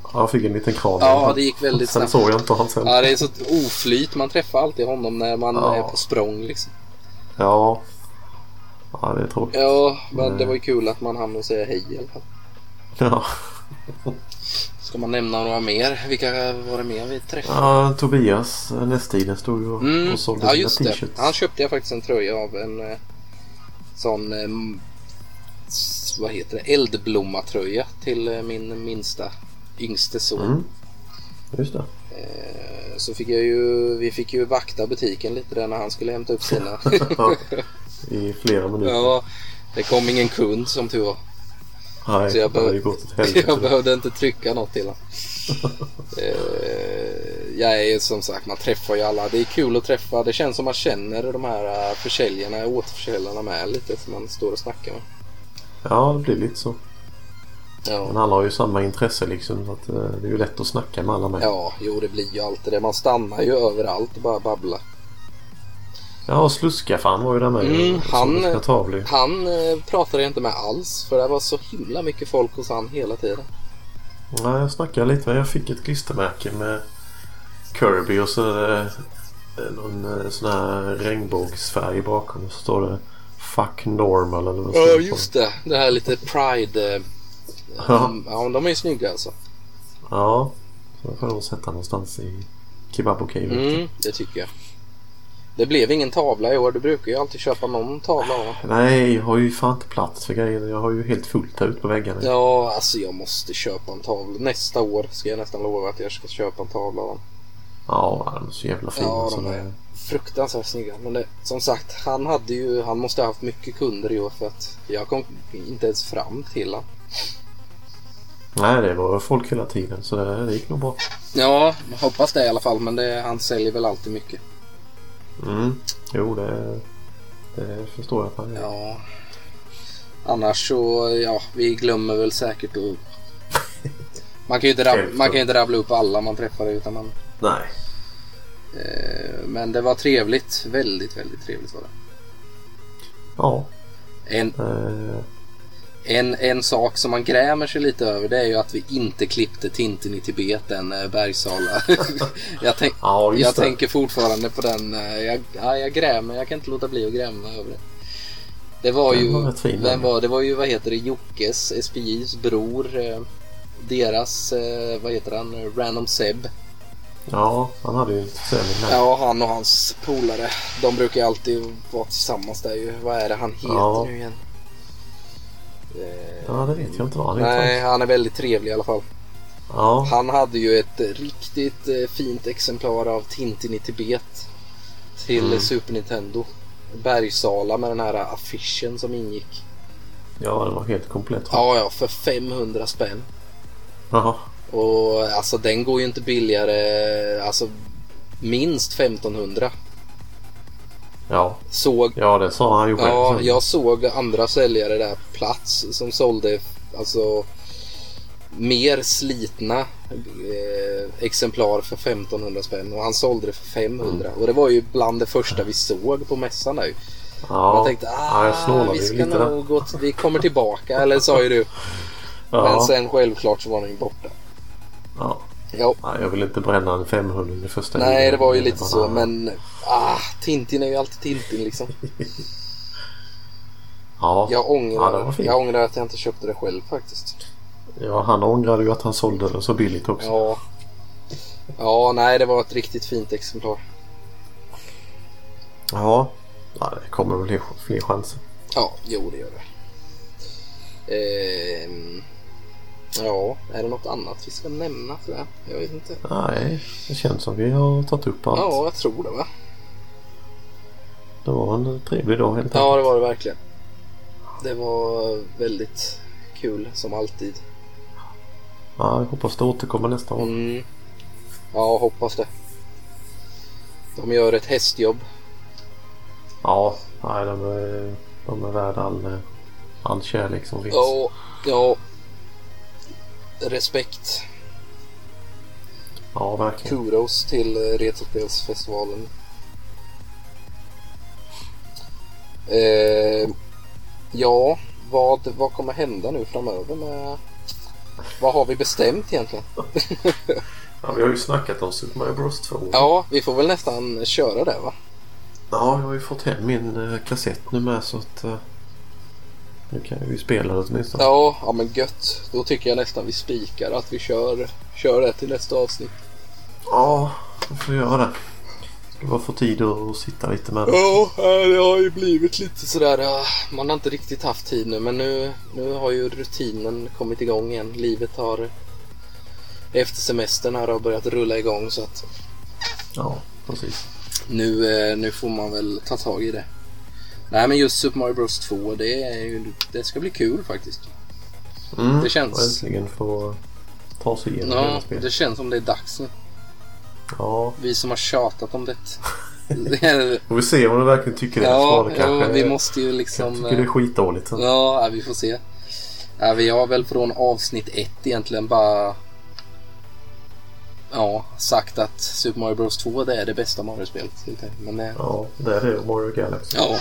Han fick en liten kram. ja, det gick väldigt Sen snabbt. såg jag inte han sen. Ja, det är så ett oflyt. Man träffar alltid honom när man Ja. är på språng liksom. Ja. Ja, det är tråkigt. Ja, men Nej. det var ju kul att man hann och säga hej i alla fall. Ja. Ska man nämna några mer? Vilka var det mer vi träffade? ja Tobias, eh, nästtiden, stod ju och, Mm. och sålde Ja, sina just det. t-shirts. Han köpte jag faktiskt en tröja av en eh, sån... Eh, m- s- vad heter det? Eldblomma-tröja till eh, min minsta, yngste son. Mm. Just det. Eh, Så fick jag ju, vi fick ju vakta butiken lite där när han skulle hämta upp sina. Mm. Ja. I flera minuter. ja, det kom ingen kund som tur var. Nej, Så jag det hade behöv- ju gått åt Jag helvete. behövde inte trycka något till honom. Eh, Jag är ju som sagt, man träffar ju alla. Det är kul att träffa. Det känns som man känner de här eh, försäljarna, återförsäljarna med lite som man står och snackar med. Ja, det blir lite så. Men Ja, alla har ju samma intresse liksom. Så att, eh, det är ju lätt att snacka med alla med. ja jo det blir ju alltid det. Man stannar ju överallt och bara babblar. Ja, och Sluskafan var ju där med. Mm, Jag såg han- sina tavlor. Han eh, pratade jag inte med alls för det var så himla mycket folk hos han hela tiden. Ja, jag snackade lite med. Jag fick ett klistermärke med Kirby och så är det någon eh, sån här regnbågsfärg bakom. Och så står det Fuck Normal eller vad Ja, står det på just Mm. det. Det här lite Pride. eh, Ja. De, ja, men de är ju snygga alltså. den. Ja, så får jag nog sätta någonstans i Kebab och Cave. Mm, det tycker jag. Det blev ingen tavla i år. Du brukar ju alltid köpa någon tavla. va? Nej, jag har ju fan inte plats för grejer. Jag har ju helt fullt här ute på väggarna. Ja, alltså jag måste köpa en tavla. Nästa år ska jag nästan lova att jag ska köpa en tavla. va? Ja, de är så jävla fina. Ja, så de det- är fruktansvärt snygga. Men det, som sagt, han, hade ju, han måste ha haft mycket kunder i år för att jag kom inte ens fram till honom. Nej, det var folk hela tiden så det, det gick nog bra. Ja, jag hoppas det i alla fall. Men det, han säljer väl alltid mycket. Mm. Jo, det, det förstår jag att han gör. Ja. Annars så, ja, vi glömmer väl säkert att... Man kan ju inte, rab- man kan ju inte rabbla upp alla man träffar utan man... Nej. Eh, men det var trevligt. Väldigt, väldigt trevligt var det. Ja. En, Eh, en, en sak som man grämer sig lite över det är ju att vi inte klippte Tintin i Tibet, den eh, Bergsala. jag tänk, ja, just jag det. tänker fortfarande på den. eh, Jag, ja, jag grämer, jag kan inte låta bli att gräma över det. Det var Den ju, var rätt fin, vem den. var, det var ju, vad heter det, Jockes, SPJs bror. eh, Deras, eh, vad heter han, Random Seb. Ja, han hade ju en försäljning här. Ja, han och hans polare. De brukar ju alltid vara tillsammans där ju. Vad är det han heter Ja. nu igen? Eh, Ja, det vet jag inte vad han Nej, heter. han är väldigt trevlig i alla fall. Ja, Han hade ju ett eh, riktigt eh, fint exemplar av Tintin i Tibet till Mm. eh, Super Nintendo. Bergsala med den här affischen som ingick. ja, den var helt komplett. Ja, ja, för 500 spänn. Ja. Och eh, alltså den går ju inte billigare, alltså minst 1500. Ja. Såg, ja, det sa han ju själv. ja, sen. jag såg andra säljare där på plats som sålde alltså mer slitna eh, exemplar för 1500 spänn och han sålde det för 500 Mm. och det var ju bland det första vi såg på mässan där ju. ja. Man tänkte ja, jag ah, snålade vi ju ska lite där. nog gå, vi kommer tillbaka eller sa ju du. Men Ja. sen självklart så var den ju borta. ja. Ja. Nej, jag vill inte bränna en 500 i första Nej, gillet. det var ju lite Ja. så, men ah, Tintin är ju alltid Tintin liksom. Ja. Jag Ja, det ångrar, var fint. jag ångrar att jag inte köpte det själv faktiskt. ja, han ångrade ju att han sålde det så billigt också. Ja. ja, nej, det var ett riktigt fint exemplar. Ja. ja det kommer väl fler- fler chanser. Ja, jo det gör det. Ehm, ja, är det något annat vi ska nämna tror jag? Jag vet inte. Nej, det känns som vi har tagit upp allt. Ja, jag tror det va? Det var en trevlig dag helt Ja, det var det verkligen. Det var väldigt kul som alltid. Ja, jag hoppas det återkommer nästa gång. Mm. Ja, hoppas det. De gör ett hästjobb. Ja, nej, de, är, de är värda all, all kärlek som finns. Ja, ja. Respekt. Ja, verkligen. Kudos till eh, Retrospelsfestivalen. Eh, ja, vad, vad kommer hända nu framöver med... Vad har vi bestämt egentligen? Ja, vi har ju snackat om Super Mario Bros 2. Ja, vi får väl nästan köra det va? Ja, jag har ju fått hem min eh, kassett nu med så att eh, nu kan jag ju spela det åtminstone. Ja, ja men gött. Då tycker jag nästan vi spikar att vi kör, kör det till nästa avsnitt. Ja, jag får göra det. Ska bara få tid att sitta lite med det. Ja, eh, det har ju blivit lite sådär. eh, Man har inte riktigt haft tid nu, men nu, nu har ju rutinen kommit igång igen. Livet har efter semestern här har börjat rulla igång så att Ja, precis. nu, eh, nu får man väl ta tag i det. Nej, men just Super Mario Bros 2, det, är ju, det ska bli kul faktiskt. Mm. Det känns- och Äntligen få ta sig igenom hela Ja, spelet. det känns som det är dags nu. Ja, Vi som har tjatat om det. Det är- får vi se om du verkligen tycker det. ja, Svaret ja, kanske- vi måste ju liksom... Jag tycker det är skitdåligt. så. Ja, ja, vi får se. Ja, vi har väl från avsnitt ett egentligen bara ja, sagt att Super Mario Bros 2 det är det bästa Mario-spelet. helt enkelt. Men, eh, Ja, det är det. och Mario Galaxy. ja.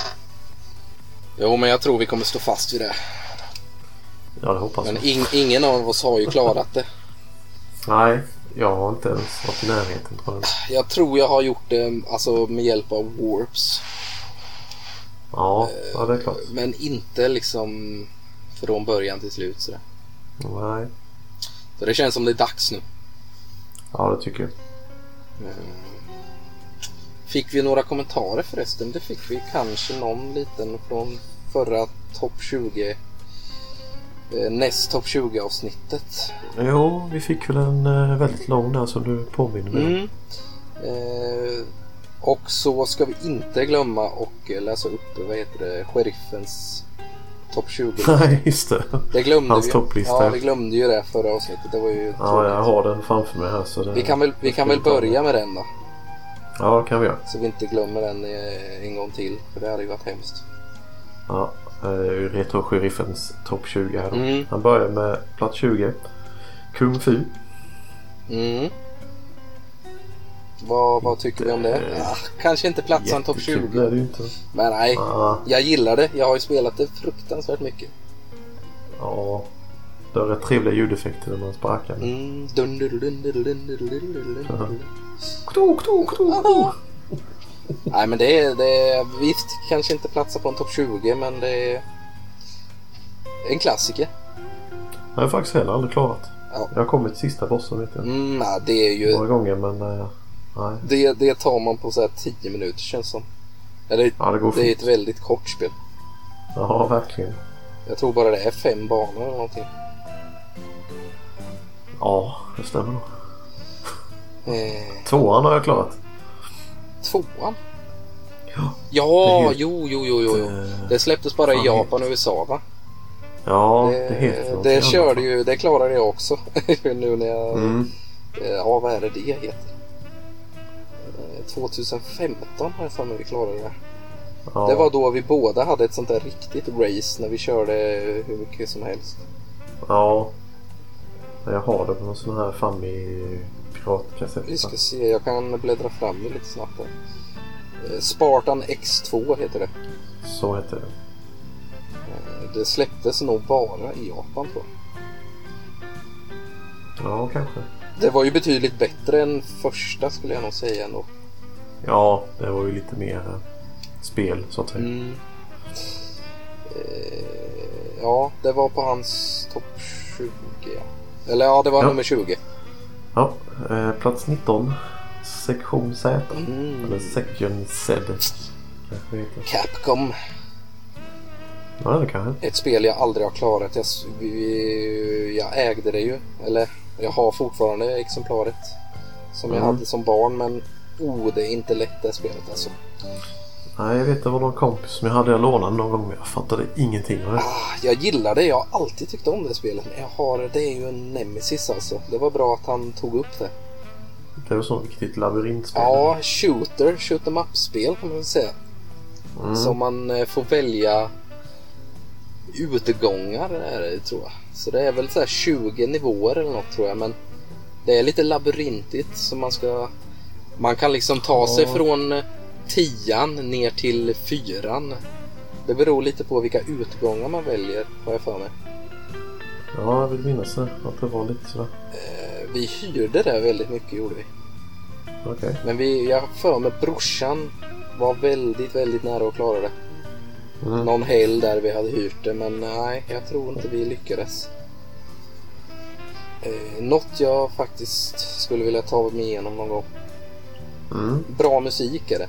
Jo, men jag tror vi kommer stå fast vid det. Ja, det hoppas Men jag. ing- ingen av oss har ju klarat det. Nej, jag har inte ens varit i närheten tror jag. Jag tror jag har gjort det alltså, med hjälp av warps. Ja, ja det är klart. Men inte liksom från början till slut. sådär. Nej, Så det känns som det är dags nu. ja det tycker jag. Fick vi några kommentarer förresten? Det fick vi kanske någon liten från förra topp 20 eh, näst topp 20 avsnittet. Jo, vi fick väl en eh, väldigt lång där som du påminner mig om. Mm. Eh, och så ska vi inte glömma och eh, läsa upp vad heter det, sheriffens topp 20. Nej, just det. Det glömde Hans vi. topplista. Ja, vi glömde ju det förra avsnittet. Det var ju Ja, jag tråkigt. har den framför mig här. Så det... Vi kan väl, vi kan väl börja med den då. Ja, det kan vi göra. Så vi inte glömmer den eh, en gång till. För det hade ju varit hemskt. Ja, eh, ur Retro-sheriffens topp 20 här då. Mm. Han börjar med plats 20. Kung Fu. Mm. Vad, vad tycker vi om det? Eh, Ah, kanske inte platsan topp Jättekul 20. är det ju inte. Ah, Men nej, Ja, jag gillar det. Jag har ju spelat det fruktansvärt mycket. ja. Det är rätt trevliga ljudeffekter när man sparkar. Mm. Dun, dun, dun, dun, dun, dun, dun, dun, dun, dun. Kto, kto, kto, kto. Nej men det är, det är visst kanske inte platsa på en topp 20 men det är en klassiker. Jag har faktiskt heller aldrig klarat. Ja. Jag har kommit till sista bossen vet jag. Mm, nej, det är ju Några gånger men eh, nej. det, det tar man på så här 10 minuter känns som. Eller Ja, det går det är fint. ett väldigt kort spel. Ja, verkligen. Jag tror bara det är fem banor eller någonting. Ja, det stämmer nog. Eh, Tvåan har jag klarat. Tvåan? Ja. Ja, Det heter- jo, jo, jo, jo. jo. Eh, Det släpptes bara i fan, Japan och USA va? Ja, det, heter Det, något det annat. körde ju, det klarade jag också. nu när jag, Mm. eh, ja vad är det det heter? Eh, 2015 har jag för mig vi klarade det. Ja. Det var då vi båda hade ett sånt där riktigt race när vi körde hur mycket som helst. Ja. Jag har det på någon sån här Fammi piratkassett. Vi ska se, jag kan bläddra fram det lite snabbt här. Eh, Spartan X2 heter det. Så heter det. Eh, Det släpptes nog bara i Japan tror jag. Ja, kanske. Det var ju betydligt bättre än första skulle jag nog säga ändå. Ja, det var ju lite mer eh, spel så att säga. Mm. Eh, ja, det var på hans topp 20. ja. Eller ja, det var Ja. nummer 20. Ja, eh, plats 19. Sektion Z. Eller Mm. Section Z. Kanske det heter. Capcom. Ja, det kanske. Ett spel jag aldrig har klarat. Jag, s- vi- jag ägde det ju. Eller jag har fortfarande exemplaret. Som jag Mm. hade som barn. Men oh, det är inte lätt det här spelet alltså. Nej, jag vet det var någon kompis som jag hade. Jag lånade någon gång men jag fattade ingenting av det. Ah, jag gillar det. Jag har alltid tyckt om det spelet. Men jag har, det är ju en nemesis alltså. Det var bra att han tog upp det. Det är väl så riktigt labyrintspel. Ja, shooter. Shoot em up-spel kan man väl säga. Mm. Så man eh, får välja utgångar är det, tror jag. Så det är väl så här 20 nivåer eller något tror jag. Men det är lite labyrintigt så man ska... Man kan liksom ta Ja. sig från eh, tian ner till fyran. Det beror lite på vilka utgångar man väljer har jag för mig. Ja, jag vill minnas det. Att det var lite sådär. Eh, Vi hyrde det väldigt mycket gjorde vi. Okej. Men vi, jag har för mig brorsan var väldigt, väldigt nära att klara det. Mm. någon helg där vi hade hyrt det men nej, jag tror inte vi lyckades. Eh, något jag faktiskt skulle vilja ta mig igenom någon gång. Mm. Bra musik är det.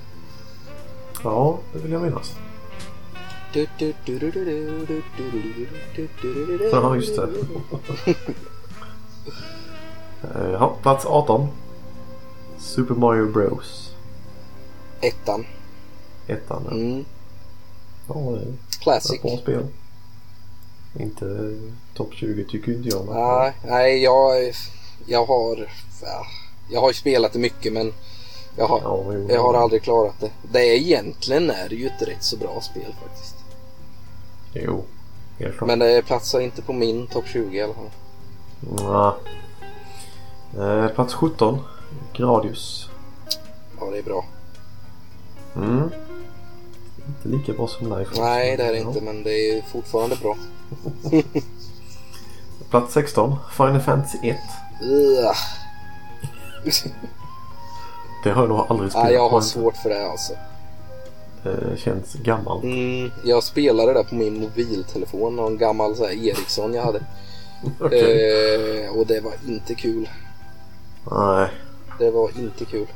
Ja, det vill jag minnas. Ja, just det. Eh, Ja, plats 18. Super Mario Bros. Ettan. Ettan. ja. Mm. Ja, det är ett Classic. bra spel. Inte eh, topp 20 tycker inte jag. men- Nej, nej jag, jag har... Jag har ju spelat det mycket men jag har, Ja, jo, jag har aldrig klarat det. Det är egentligen är det ju ett rätt så bra spel faktiskt. Jo, helt klart. Men det platsar inte på min topp 20 i alla fall. Nja. Eh, plats 17. Gradius. Ja, det är bra. Mm. Inte lika bra som Life. Nej, det är det Ja. inte, men det är fortfarande bra. Plats 16. Final Fantasy 1. Ugh. Det har jag nog aldrig spelat. Nej, jag har men svårt för det alltså. Det känns gammalt. Mm, jag spelade det på min mobiltelefon, någon gammal så här Ericsson jag hade. Okej. Eh, och det var inte kul. Nej, Det var inte kul.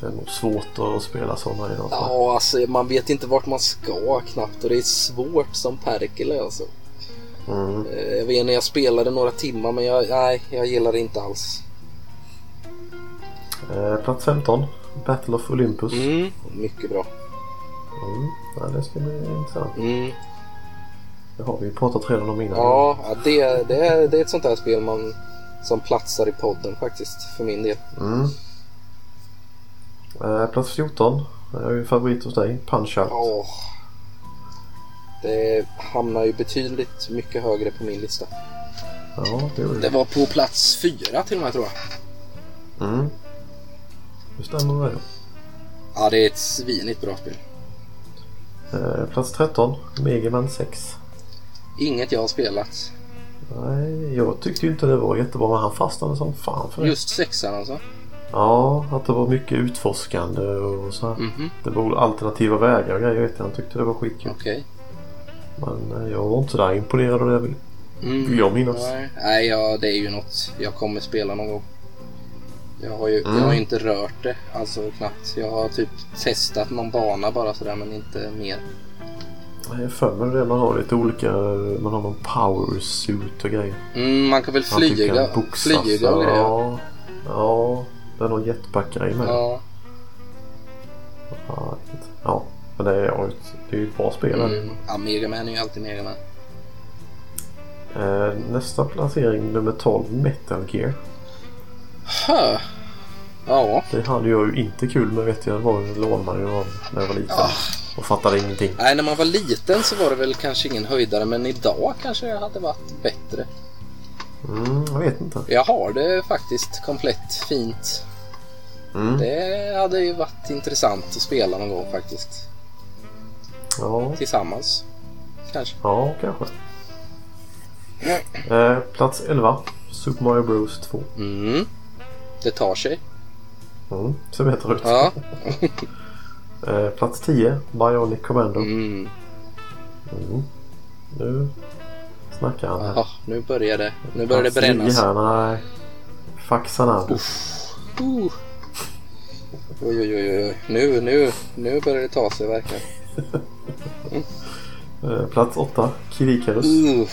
det är nog svårt att spela sådana idag. Ja, alltså man vet inte vart man ska knappt och det är svårt som Perkele alltså. Mm. Eh, jag vet inte, jag spelade några timmar men jag, nej, jag gillar det inte alls. Eh, plats 15. Battle of Olympus. Mm. Mm, mycket bra. Ja, det ska bli intressant. Mm. Det har vi ju pratat redan om innan. Ja, ja, det, det, är, det är ett sånt där spel man, som platsar i podden faktiskt, för min del. Mm. Eh, plats 14. Jag är ju favorit hos dig. Punch-Out. Åh. Det hamnar ju betydligt mycket högre på min lista. Ja, det gjorde Det det. var på plats fyra till och med tror jag. Mm. Det stämmer väl. Ja, det är ett svinigt bra spel. Eh, plats 13. Mega Man 6. Inget jag har spelat. Nej, jag tyckte ju inte det var jättebra men han fastnade som fan för det. Just sexan alltså. Ja, att det var mycket utforskande och så här. Mhm, Det var alternativa vägar och grejer. vet jag. Han tyckte det var skitkul. okej. Men eh, jag var inte så där imponerad av det vill, Mm. vill jag minnas. Nej, nej, ja, det är ju något jag kommer spela någon gång. Jag har ju jag Mm. har ju inte rört det, alltså knappt. Jag har typ testat någon bana bara sådär, men inte mer. Jag har för mig det. Man har lite olika... Man har någon power suit och grejer. Mm, man kan väl Han tycker flyga, han boxas flyga och grejer. Ja. ja, ja, det är någon jetpack-grej med. Ja. jag vet inte. Ja, men det är, ja, det är ju ett bra spel. Mm. ja, Mega Man är ju alltid Mega Man. Eh, nästa placering, nummer 12, Metal Gear. Hö. Ja. Det hade jag ju inte kul med vet jag. Det var ju lånade ju av när jag var liten. Ah. Och fattade ingenting. Nej, när man var liten så var det väl kanske ingen höjdare, men idag kanske det hade varit bättre. Mm, jag vet inte. Jag har det faktiskt komplett fint. Mm. Det hade ju varit intressant att spela någon gång faktiskt. Ja, Tillsammans. Kanske. ja, kanske. Eh, plats 11, Super Mario Bros 2. Mm. Det tar sig. Mm, ser bättre ut. Ja. Eh, plats 10, Bionic Commando. Mm. Mm. Nu snackar han här. Ja, nu börjar det. Nu börjar det Plats nio brännas. Här, nej. Faxarna. Uh. Oj, oj, oj, oj. Nu, nu, nu börjar det ta sig verkligen. Eh, plats 8, Kirikarus. Uh.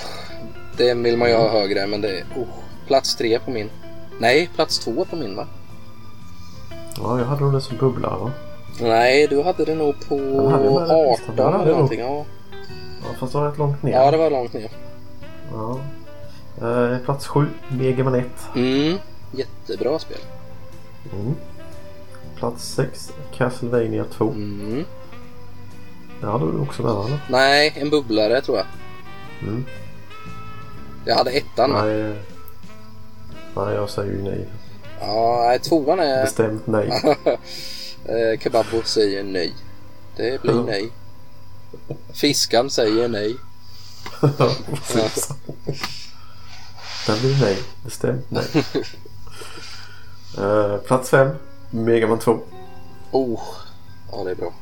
Det vill man ju Mm. ha högre, men det är... Uh. Plats tre på min. Nej, plats två på min va? Ja, jag hade nog det som bubbla va? Nej, du hade det nog på Den hade jag med den listan. 18 Den hade eller jag någonting. Ja. Ja, fast det var rätt långt ner. ja, det var långt ner. Ja. Eh, plats 7, Megaman 1. Mm. Jättebra spel. Mm. Plats 6, Castlevania 2. Mm. Det hade du också med va? eller? Nej, en bubblare tror jag. Mm. Jag hade ettan. va? Nej. eh, Nej, jag säger ju nej. Ja, nej, tvåan är... Bestämt nej. Eh, Kebabbo säger nej. Det blir Ja. nej. Fiskan säger nej. Precis. Den blir nej. Bestämt nej. Eh, plats 5, Megaman 2. Oh, ja det är bra.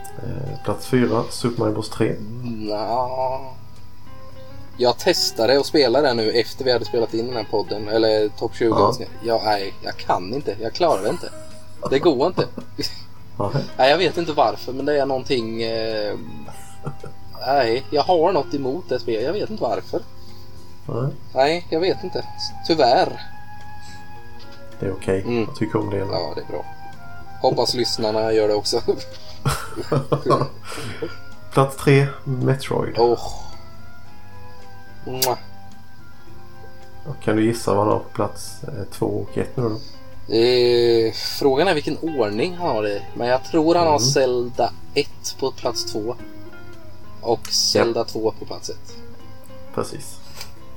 Eh, plats 4, Super Mario Bros 3. Nå. Jag testade att spela det nu efter vi hade spelat in den här podden. Eller topp 20 Ja. avsnitt. Ja, nej, jag kan inte. Jag klarar det inte. Det går inte. Nej. nej, jag vet inte varför men det är någonting... Eh, nej, jag har något emot det spelet. Jag vet inte varför. Nej. Nej, jag vet inte. Tyvärr. Det är okej. Mm. Jag tycker om det. Ja, det är bra. Hoppas lyssnarna gör det också. Plats 3, Metroid. Åh. Mwah. Kan du gissa vad han har på plats 2 och 1 nu då? Eh, frågan är vilken ordning han har det i. Men jag tror han har Mm. Zelda 1 på plats 2. Och Zelda 2 på plats 1. Precis.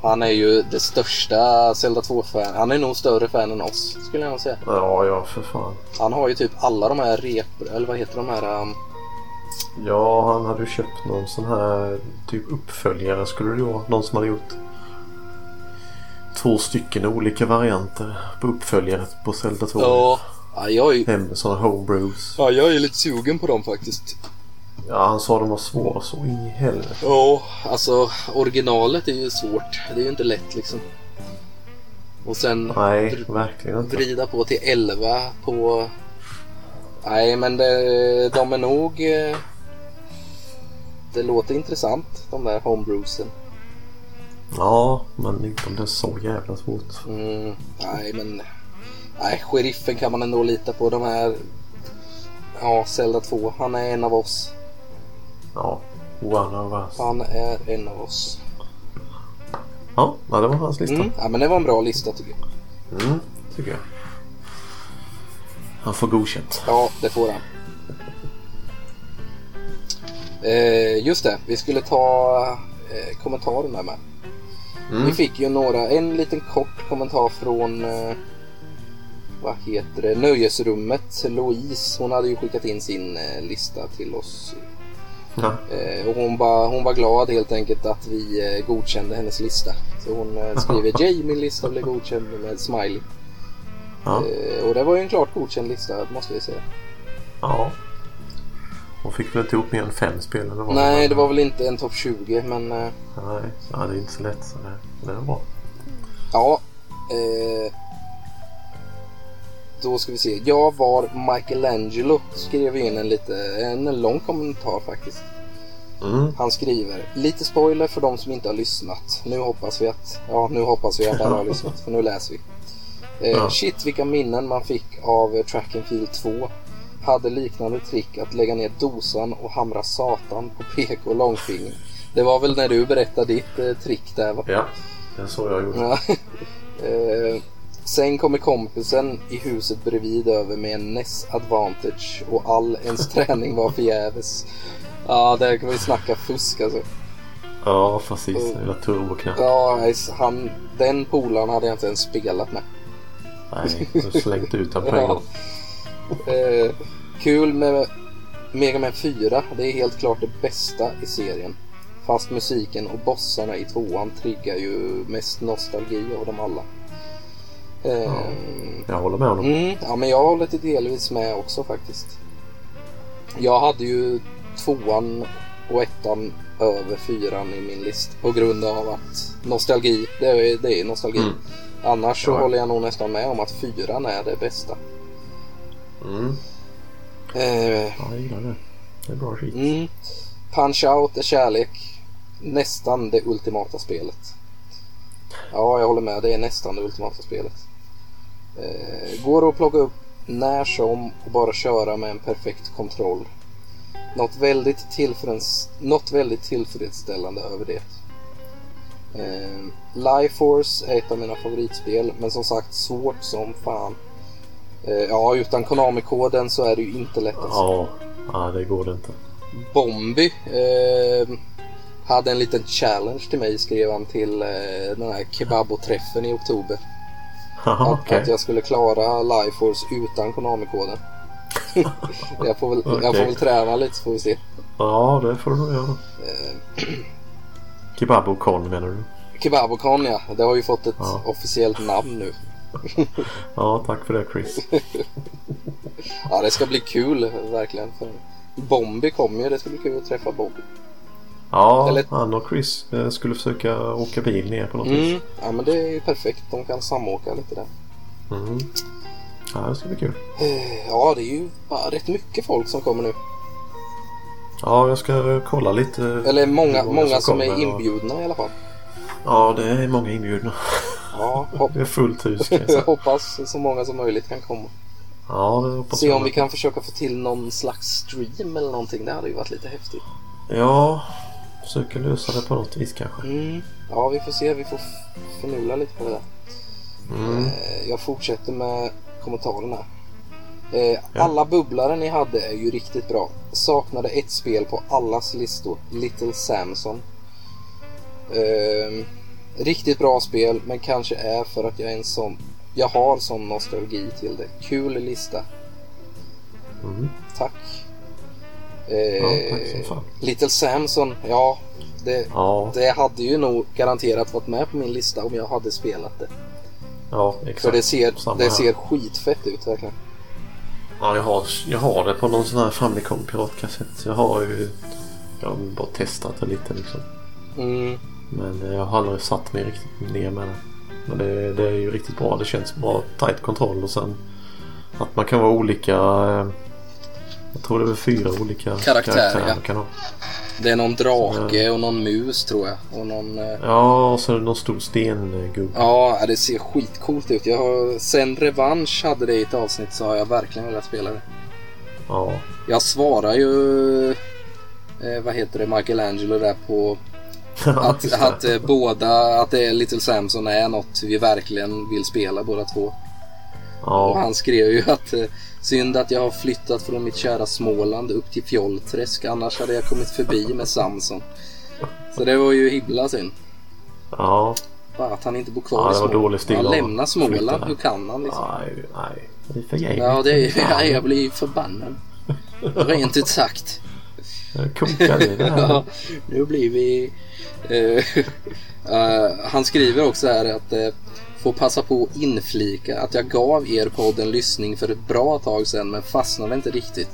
Han är ju det största Zelda 2-fan. Han är nog större fan än oss skulle jag nog säga. Ja, ja för fan. Han har ju typ alla de här rep... Eller vad heter de här? Um, Ja, han hade ju köpt någon sån här typ uppföljare skulle det ju vara. Någon som hade gjort två stycken olika varianter på uppföljare på Zelda 2. ja. Ja, jag är ju... Hem, sådana homebrews. Ja, jag är lite sugen på dem faktiskt. Ja, han sa de var svåra så in i helvete. Ja, alltså originalet är ju svårt. Det är ju inte lätt liksom. Och sen Nej, verkligen inte. vrida på till 11 på... Nej, men det, de är nog... eh, Det låter intressant, de där homebrewsen. Ja, men inte om det är så jävla svårt. Mm, nej, men... Nej, sheriffen kan man ändå lita på. De här... Ja, Zelda 2. Han är en av oss. Ja, one of us. Han är en av oss. Ja, ja, det var hans lista. Mm, ja, men det var en bra lista tycker jag. Mm, tycker jag. Han får godkänt. Ja, det får han. Eh, just det, vi skulle ta eh, kommentarerna med. Mm. Vi fick ju några, en liten kort kommentar från eh, vad heter det, Nöjesrummet. Louise, hon hade ju skickat in sin eh, lista till oss. Ja. Eh, och hon, ba, hon var glad helt enkelt att vi eh, godkände hennes lista. Så hon eh, skriver J, min lista blev godkänd med smiley. Ja. Eh, och det var ju en klart godkänd lista måste vi säga. ja. Hon fick väl inte ihop mer än fem spel eller vad? Nej, det var väl inte en topp 20, men eh, Nej, ja, det är inte så lätt. Så det- det var bra. ja. Eh, då ska vi se. Jag var Michelangelo, skrev in en lite, en lång kommentar faktiskt. Mm. Han skriver, lite spoiler för de som inte har lyssnat. Nu hoppas vi att, ja nu hoppas vi att alla har lyssnat, för nu läser vi. Eh, Ja. Shit vilka minnen man fick av eh, Track and Field 2. Hade liknande trick att lägga ner dosan och hamra satan på pek och långfinger. Det var väl när du berättade ditt eh, trick där va? Ja, det är så jag gjorde. Ja. Eh, Sen kommer kompisen i huset bredvid över med en NES Advantage och all ens träning var förgäves. Ja, där kan vi snacka fusk alltså. Ja, precis. Den lilla turboknappen. Ja, nice. han, den polaren hade jag inte ens spelat med. Nej, du har slängt ut den på en Ja. gång. Eh, kul med Mega Man 4. Det är helt klart det bästa i serien. Fast musiken och bossarna i tvåan triggar ju mest nostalgi av dem alla. Ehm, Jag håller med honom. Mm, ja, men jag håller till delvis med också faktiskt. Jag hade ju tvåan och ettan över fyran i min list på grund av att nostalgi, det är, det är nostalgi. Mm. Annars så Ja, ja. håller jag nog nästan med om att fyran är det bästa. Mm. Eh, Ja, jag gillar det. Det är bra skit. mm. Punch Out är kärlek. Nästan det ultimata spelet. Ja, jag håller med. Det är nästan det ultimata spelet. Eh, går att plocka upp när som och bara köra med en perfekt kontroll. Något väldigt, tillfreds- något väldigt tillfredsställande över det. Eh, Life Force är ett av mina favoritspel, men som sagt svårt som fan. Eh, ja, utan Konami-koden så är det ju inte lätt att Ja, ja, det går det inte. Bombi eh, hade en liten challenge till mig skrev han till eh, den här kebaboträffen i oktober. Haha, Att, Okej. att jag skulle klara Lifeforce utan Konami-koden. jag, får väl, jag får Okej. väl träna lite så får vi se. Ja, det får du nog göra. Eh. Kebab och korn menar du? Kebabocon ja, det har ju fått ett Ja. officiellt namn nu. Ja, tack för det Chris. Ja, det ska bli kul verkligen. För Bombi kommer ju, det ska bli kul att träffa Bombi. Ja, Eller- han och Chris eh, skulle försöka åka bil ner på något vis. Mm. Ja, men det är ju perfekt, de kan samåka lite där. Mm. Ja, det ska bli kul. Eh, Ja, det är ju bara rätt mycket folk som kommer nu. Ja, jag ska kolla lite. Eller många, hur många som är kommer och- inbjudna i alla fall. Ja, det är många inbjudna. Ja, hopp, Det är fullt hus kan jag säga. hoppas så många som möjligt kan komma. Ja, det hoppas Se jag om vi med. kan försöka få till någon slags stream eller någonting. Det hade ju varit lite häftigt. Ja, försöka lösa det på något vis kanske. Mm. Ja, vi får se. Vi får f- förnula lite på det där. Mm. Eh, Jag fortsätter med kommentarerna. Eh, Ja. Alla bubblare ni hade är ju riktigt bra. Saknade ett spel på allas listor. Little Samson. Ehm, riktigt bra spel, men kanske är för att jag är en sån... Jag har sån nostalgi till det. Kul lista. Mm. Tack. Eh, Ja, tack som fan. Little Samson, ja. Det, Ja, det hade ju nog garanterat varit med på min lista om jag hade spelat det. ja, För exakt. det ser, Samma det här. ser skitfett ut verkligen. Ja, jag har, jag har det på någon sån här Famicom piratkassett. Så jag har ju jag har bara testat det lite liksom. Mm. Men eh, jag har aldrig satt mig riktigt ner med det. Men det, det är ju riktigt bra. Det känns bra. Tight kontroll och sen att man kan vara olika. eh, Jag tror det är fyra olika Karaktärer, ja. man kan ha. Det är någon drake och någon mus tror jag. Och någon, eh, Ja, och så är det någon stor stengubbe. ja, det ser skitcoolt ut. Jag har, sen Revansch hade det i ett avsnitt så har jag verkligen velat spela det. Ja. Jag svarar ju, eh, vad heter det, Michelangelo där på att, Just det. att eh, båda, att det är Little Samson är något vi verkligen vill spela båda två. Och ja. han skrev ju att eh, synd att jag har flyttat från mitt kära Småland upp till Fjollträsk annars hade jag kommit förbi med Samson. Så det var ju himla synd. ja. Bara att han inte bor kvar Ja, i det var Småland. dålig stil han av lämnar att flytta Småland, där. hur kan han liksom? Nej, nej. Det är för jävligt. Ja, det är, ja, jag blir förbannad. Rent ut sagt. Jag kokar i det här. Ja, nu blir vi... eh, eh, han skriver också här att eh, Får passa på att inflika att jag gav er podd en lyssning för ett bra tag sedan men fastnade inte riktigt.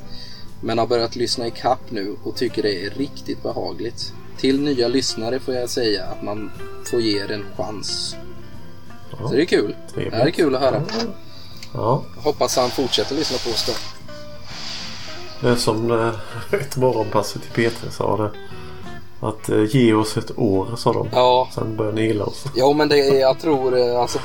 Men har börjat lyssna i kapp nu och tycker det är riktigt behagligt. Till nya lyssnare får jag säga att man får ge er en chans. Ja, Så det är kul. trevligt. Det här är kul att höra. Ja, Hoppas han fortsätter lyssna på oss då. det är som eh, ett morgonpass till Peter sa det. Att eh, ge oss ett år sa de. Ja, Sen börjar ni gilla oss. Jo, men det, jag tror eh, alltså.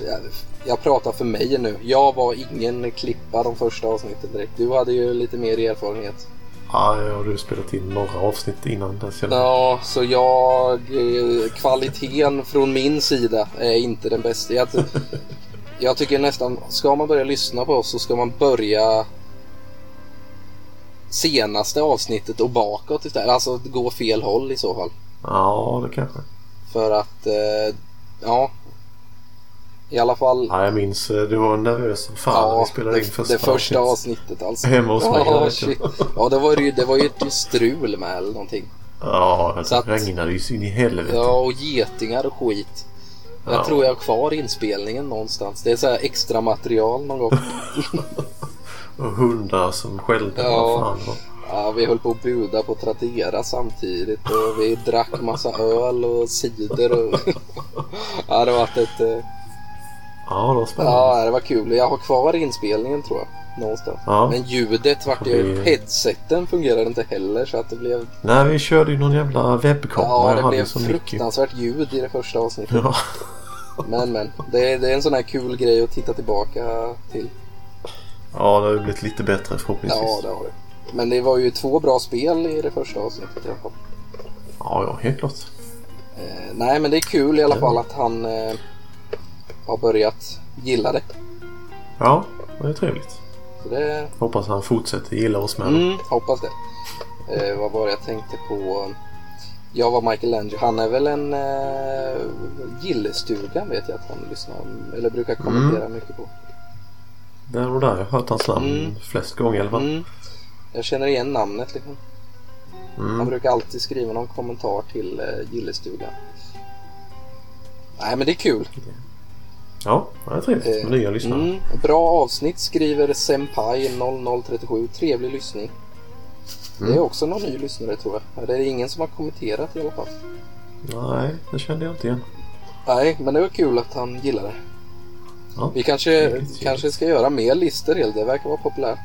Jag, jag pratar för mig nu. Jag var ingen klippa de första avsnitten direkt. Du hade ju lite mer erfarenhet. Ja, jag har ju spelat in några avsnitt innan dess. jag- Ja, så jag... eh, Kvaliteten från min sida är inte den bästa. Jag, jag tycker nästan, ska man börja lyssna på oss så ska man börja senaste avsnittet och bakåt istället. Alltså gå fel håll i så fall. Ja, det kanske. För att, eh, ja. I alla fall Ja, jag minns. eh, Du var nervös som fan när vi spelade det, in första det första avsnittet. avsnittet alltså. Hemma hos mig, Ja, jag vet shit. inte. Ja, det var ju, det var ju ett strul med eller någonting. Ja, det Så att- regnade ju så in i helvete. Ja, och getingar och skit. Jag Ja. tror jag har kvar inspelningen någonstans. Det är så här extra material någon gång. Och hundar som skällde. Ja. Vad fan det var. Ja, vi höll på att buda på Tratera samtidigt och vi drack massa öl och cider. Och... Ja, det var ett... eh, Ja, det var spännande. Ja, det var kul. Jag har kvar inspelningen tror jag. Någonstans. Ja. Men ljudet vart ju... Det- Headseten fungerade inte heller så att det blev... Nej, vi körde ju någon jävla webbkamera. Ja, jag det hade blev som Nicky. fruktansvärt ljud i det första avsnittet. Ja. Men, men. Det är, det är en sån här kul grej att titta tillbaka till. ja, det har ju blivit lite bättre förhoppningsvis. Ja, det har det. Men det var ju två bra spel i det första avsnittet i alla fall. ja, ja, helt klart. Eh, nej, men det är kul i alla fall att han eh, har börjat gilla det. Ja, det är trevligt. Så det Hoppas han fortsätter gilla oss med. mm, hoppas det. Eh, vad var det jag tänkte på? Jag var Michelangelo. Han är väl en eh, gillestugan vet jag att han lyssnar eller brukar kommentera mycket på. Det är nog där jag har hört hans namn Mm. flest gånger i alla fall. Mm. Jag känner igen namnet liksom. Han Mm. brukar alltid skriva någon kommentar till eh, gillestugan. Nej, men det är kul. Ja, det är trevligt Eh, med nya lyssnare. Mm, bra avsnitt skriver Senpai 0037. Trevlig lyssning. Det är också någon ny lyssnare tror jag. Det är ingen som har kommenterat i alla fall. Nej, det kände jag inte igen. Nej, men det var kul att han gillade det. Ja, Vi kanske, Trevligt, trevligt. kanske ska göra mer listor helt. Det verkar vara populärt.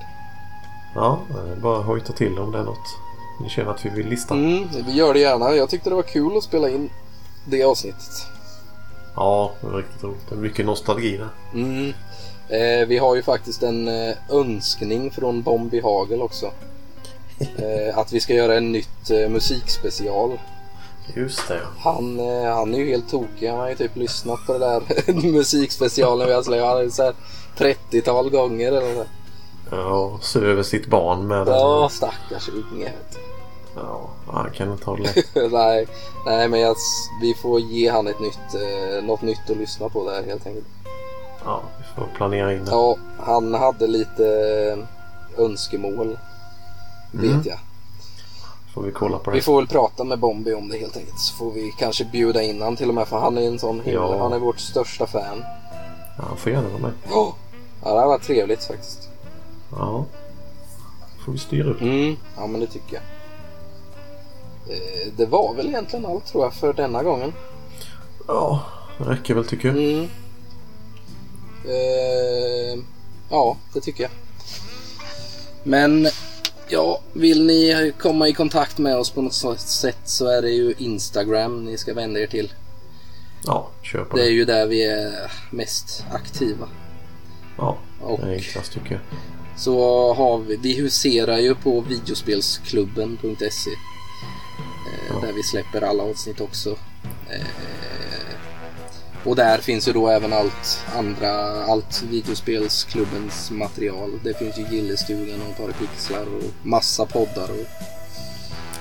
ja det är bara hojta till om det är något ni känner att vi vill lista. Mm, vi gör det gärna. Jag tyckte det var kul att spela in det avsnittet. Ja, det är riktigt roligt. Det är mycket nostalgi där. Mm. Eh, vi har ju faktiskt en eh, önskning från Bombi Hagel också. Eh, att vi ska göra en nytt eh, musikspecial. Just det, ja. Han, eh, han är ju helt tokig. Han har ju typ lyssnat på det där musikspecialen vi har släppt. Han har ju så här 30-tal gånger eller nåt. Ja, och så över sitt barn med Ja, ja. stackars unge. vet du. ja. Han kan inte ha det lätt. nej, nej, men jag, s- vi får ge han ett nytt, eh, något nytt att lyssna på där helt enkelt. Ja, vi får planera in det. Ja, han hade lite eh, önskemål. Mm. Vet jag. Får vi kolla på det. Vi får väl prata med Bombi om det helt enkelt. Så får vi kanske bjuda in han till och med. För han är en sån himla. Ja. Han är vårt största fan. Ja, han får gärna vara med. Oh! Ja, det här var trevligt faktiskt. Ja. Får vi styra upp. Mm, ja men det tycker jag. Eh, Det var väl egentligen allt tror jag för denna gången. Ja, det räcker väl tycker jag. Mm. Eh, ja, det tycker jag. Men ja, vill ni komma i kontakt med oss på något sånt sätt så är det ju Instagram ni ska vända er till. Ja, kör på Det är det. ju där vi är mest aktiva. Ja, Och det är enklast tycker jag. så har vi, vi huserar ju på videospelsklubben.se. Eh, Ja. Där vi släpper alla avsnitt också. Eh, och där finns ju då även allt andra, allt videospelsklubbens material. Det finns ju Gillestugan och Par pixlar och massa poddar. Och,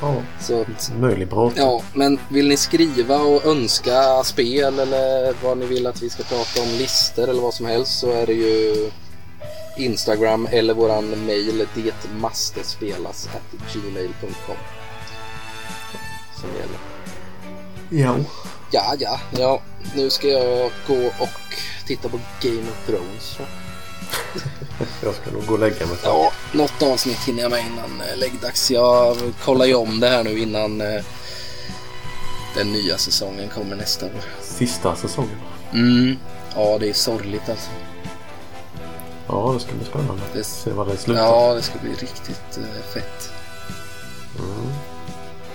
Ja, så att, möjlig bra. ja, men vill ni skriva och önska spel eller vad ni vill att vi ska prata om, listor eller vad som helst så är det ju Instagram eller våran mail detmastespelas@gmail.com som gäller. Ja. Ja, ja, ja. Nu ska jag gå och titta på Game of Thrones. tror jag. Jag ska nog gå och lägga mig. Ja, något avsnitt hinner jag med innan eh, läggdags. Jag kollar ju om det här nu innan eh, den nya säsongen kommer nästa år. Sista säsongen. Mm. Ja, det är sorgligt alltså. Ja, det ska bli spännande. Det- Se vad det slutar. Ja, det ska bli riktigt eh, fett.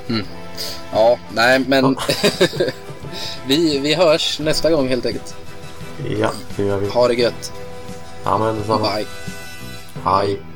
Mm. Ja, nej men. vi, vi hörs nästa gång helt enkelt. Ja, det gör vi. Ha det gött. Ja, men detsamma. Bye. Hej.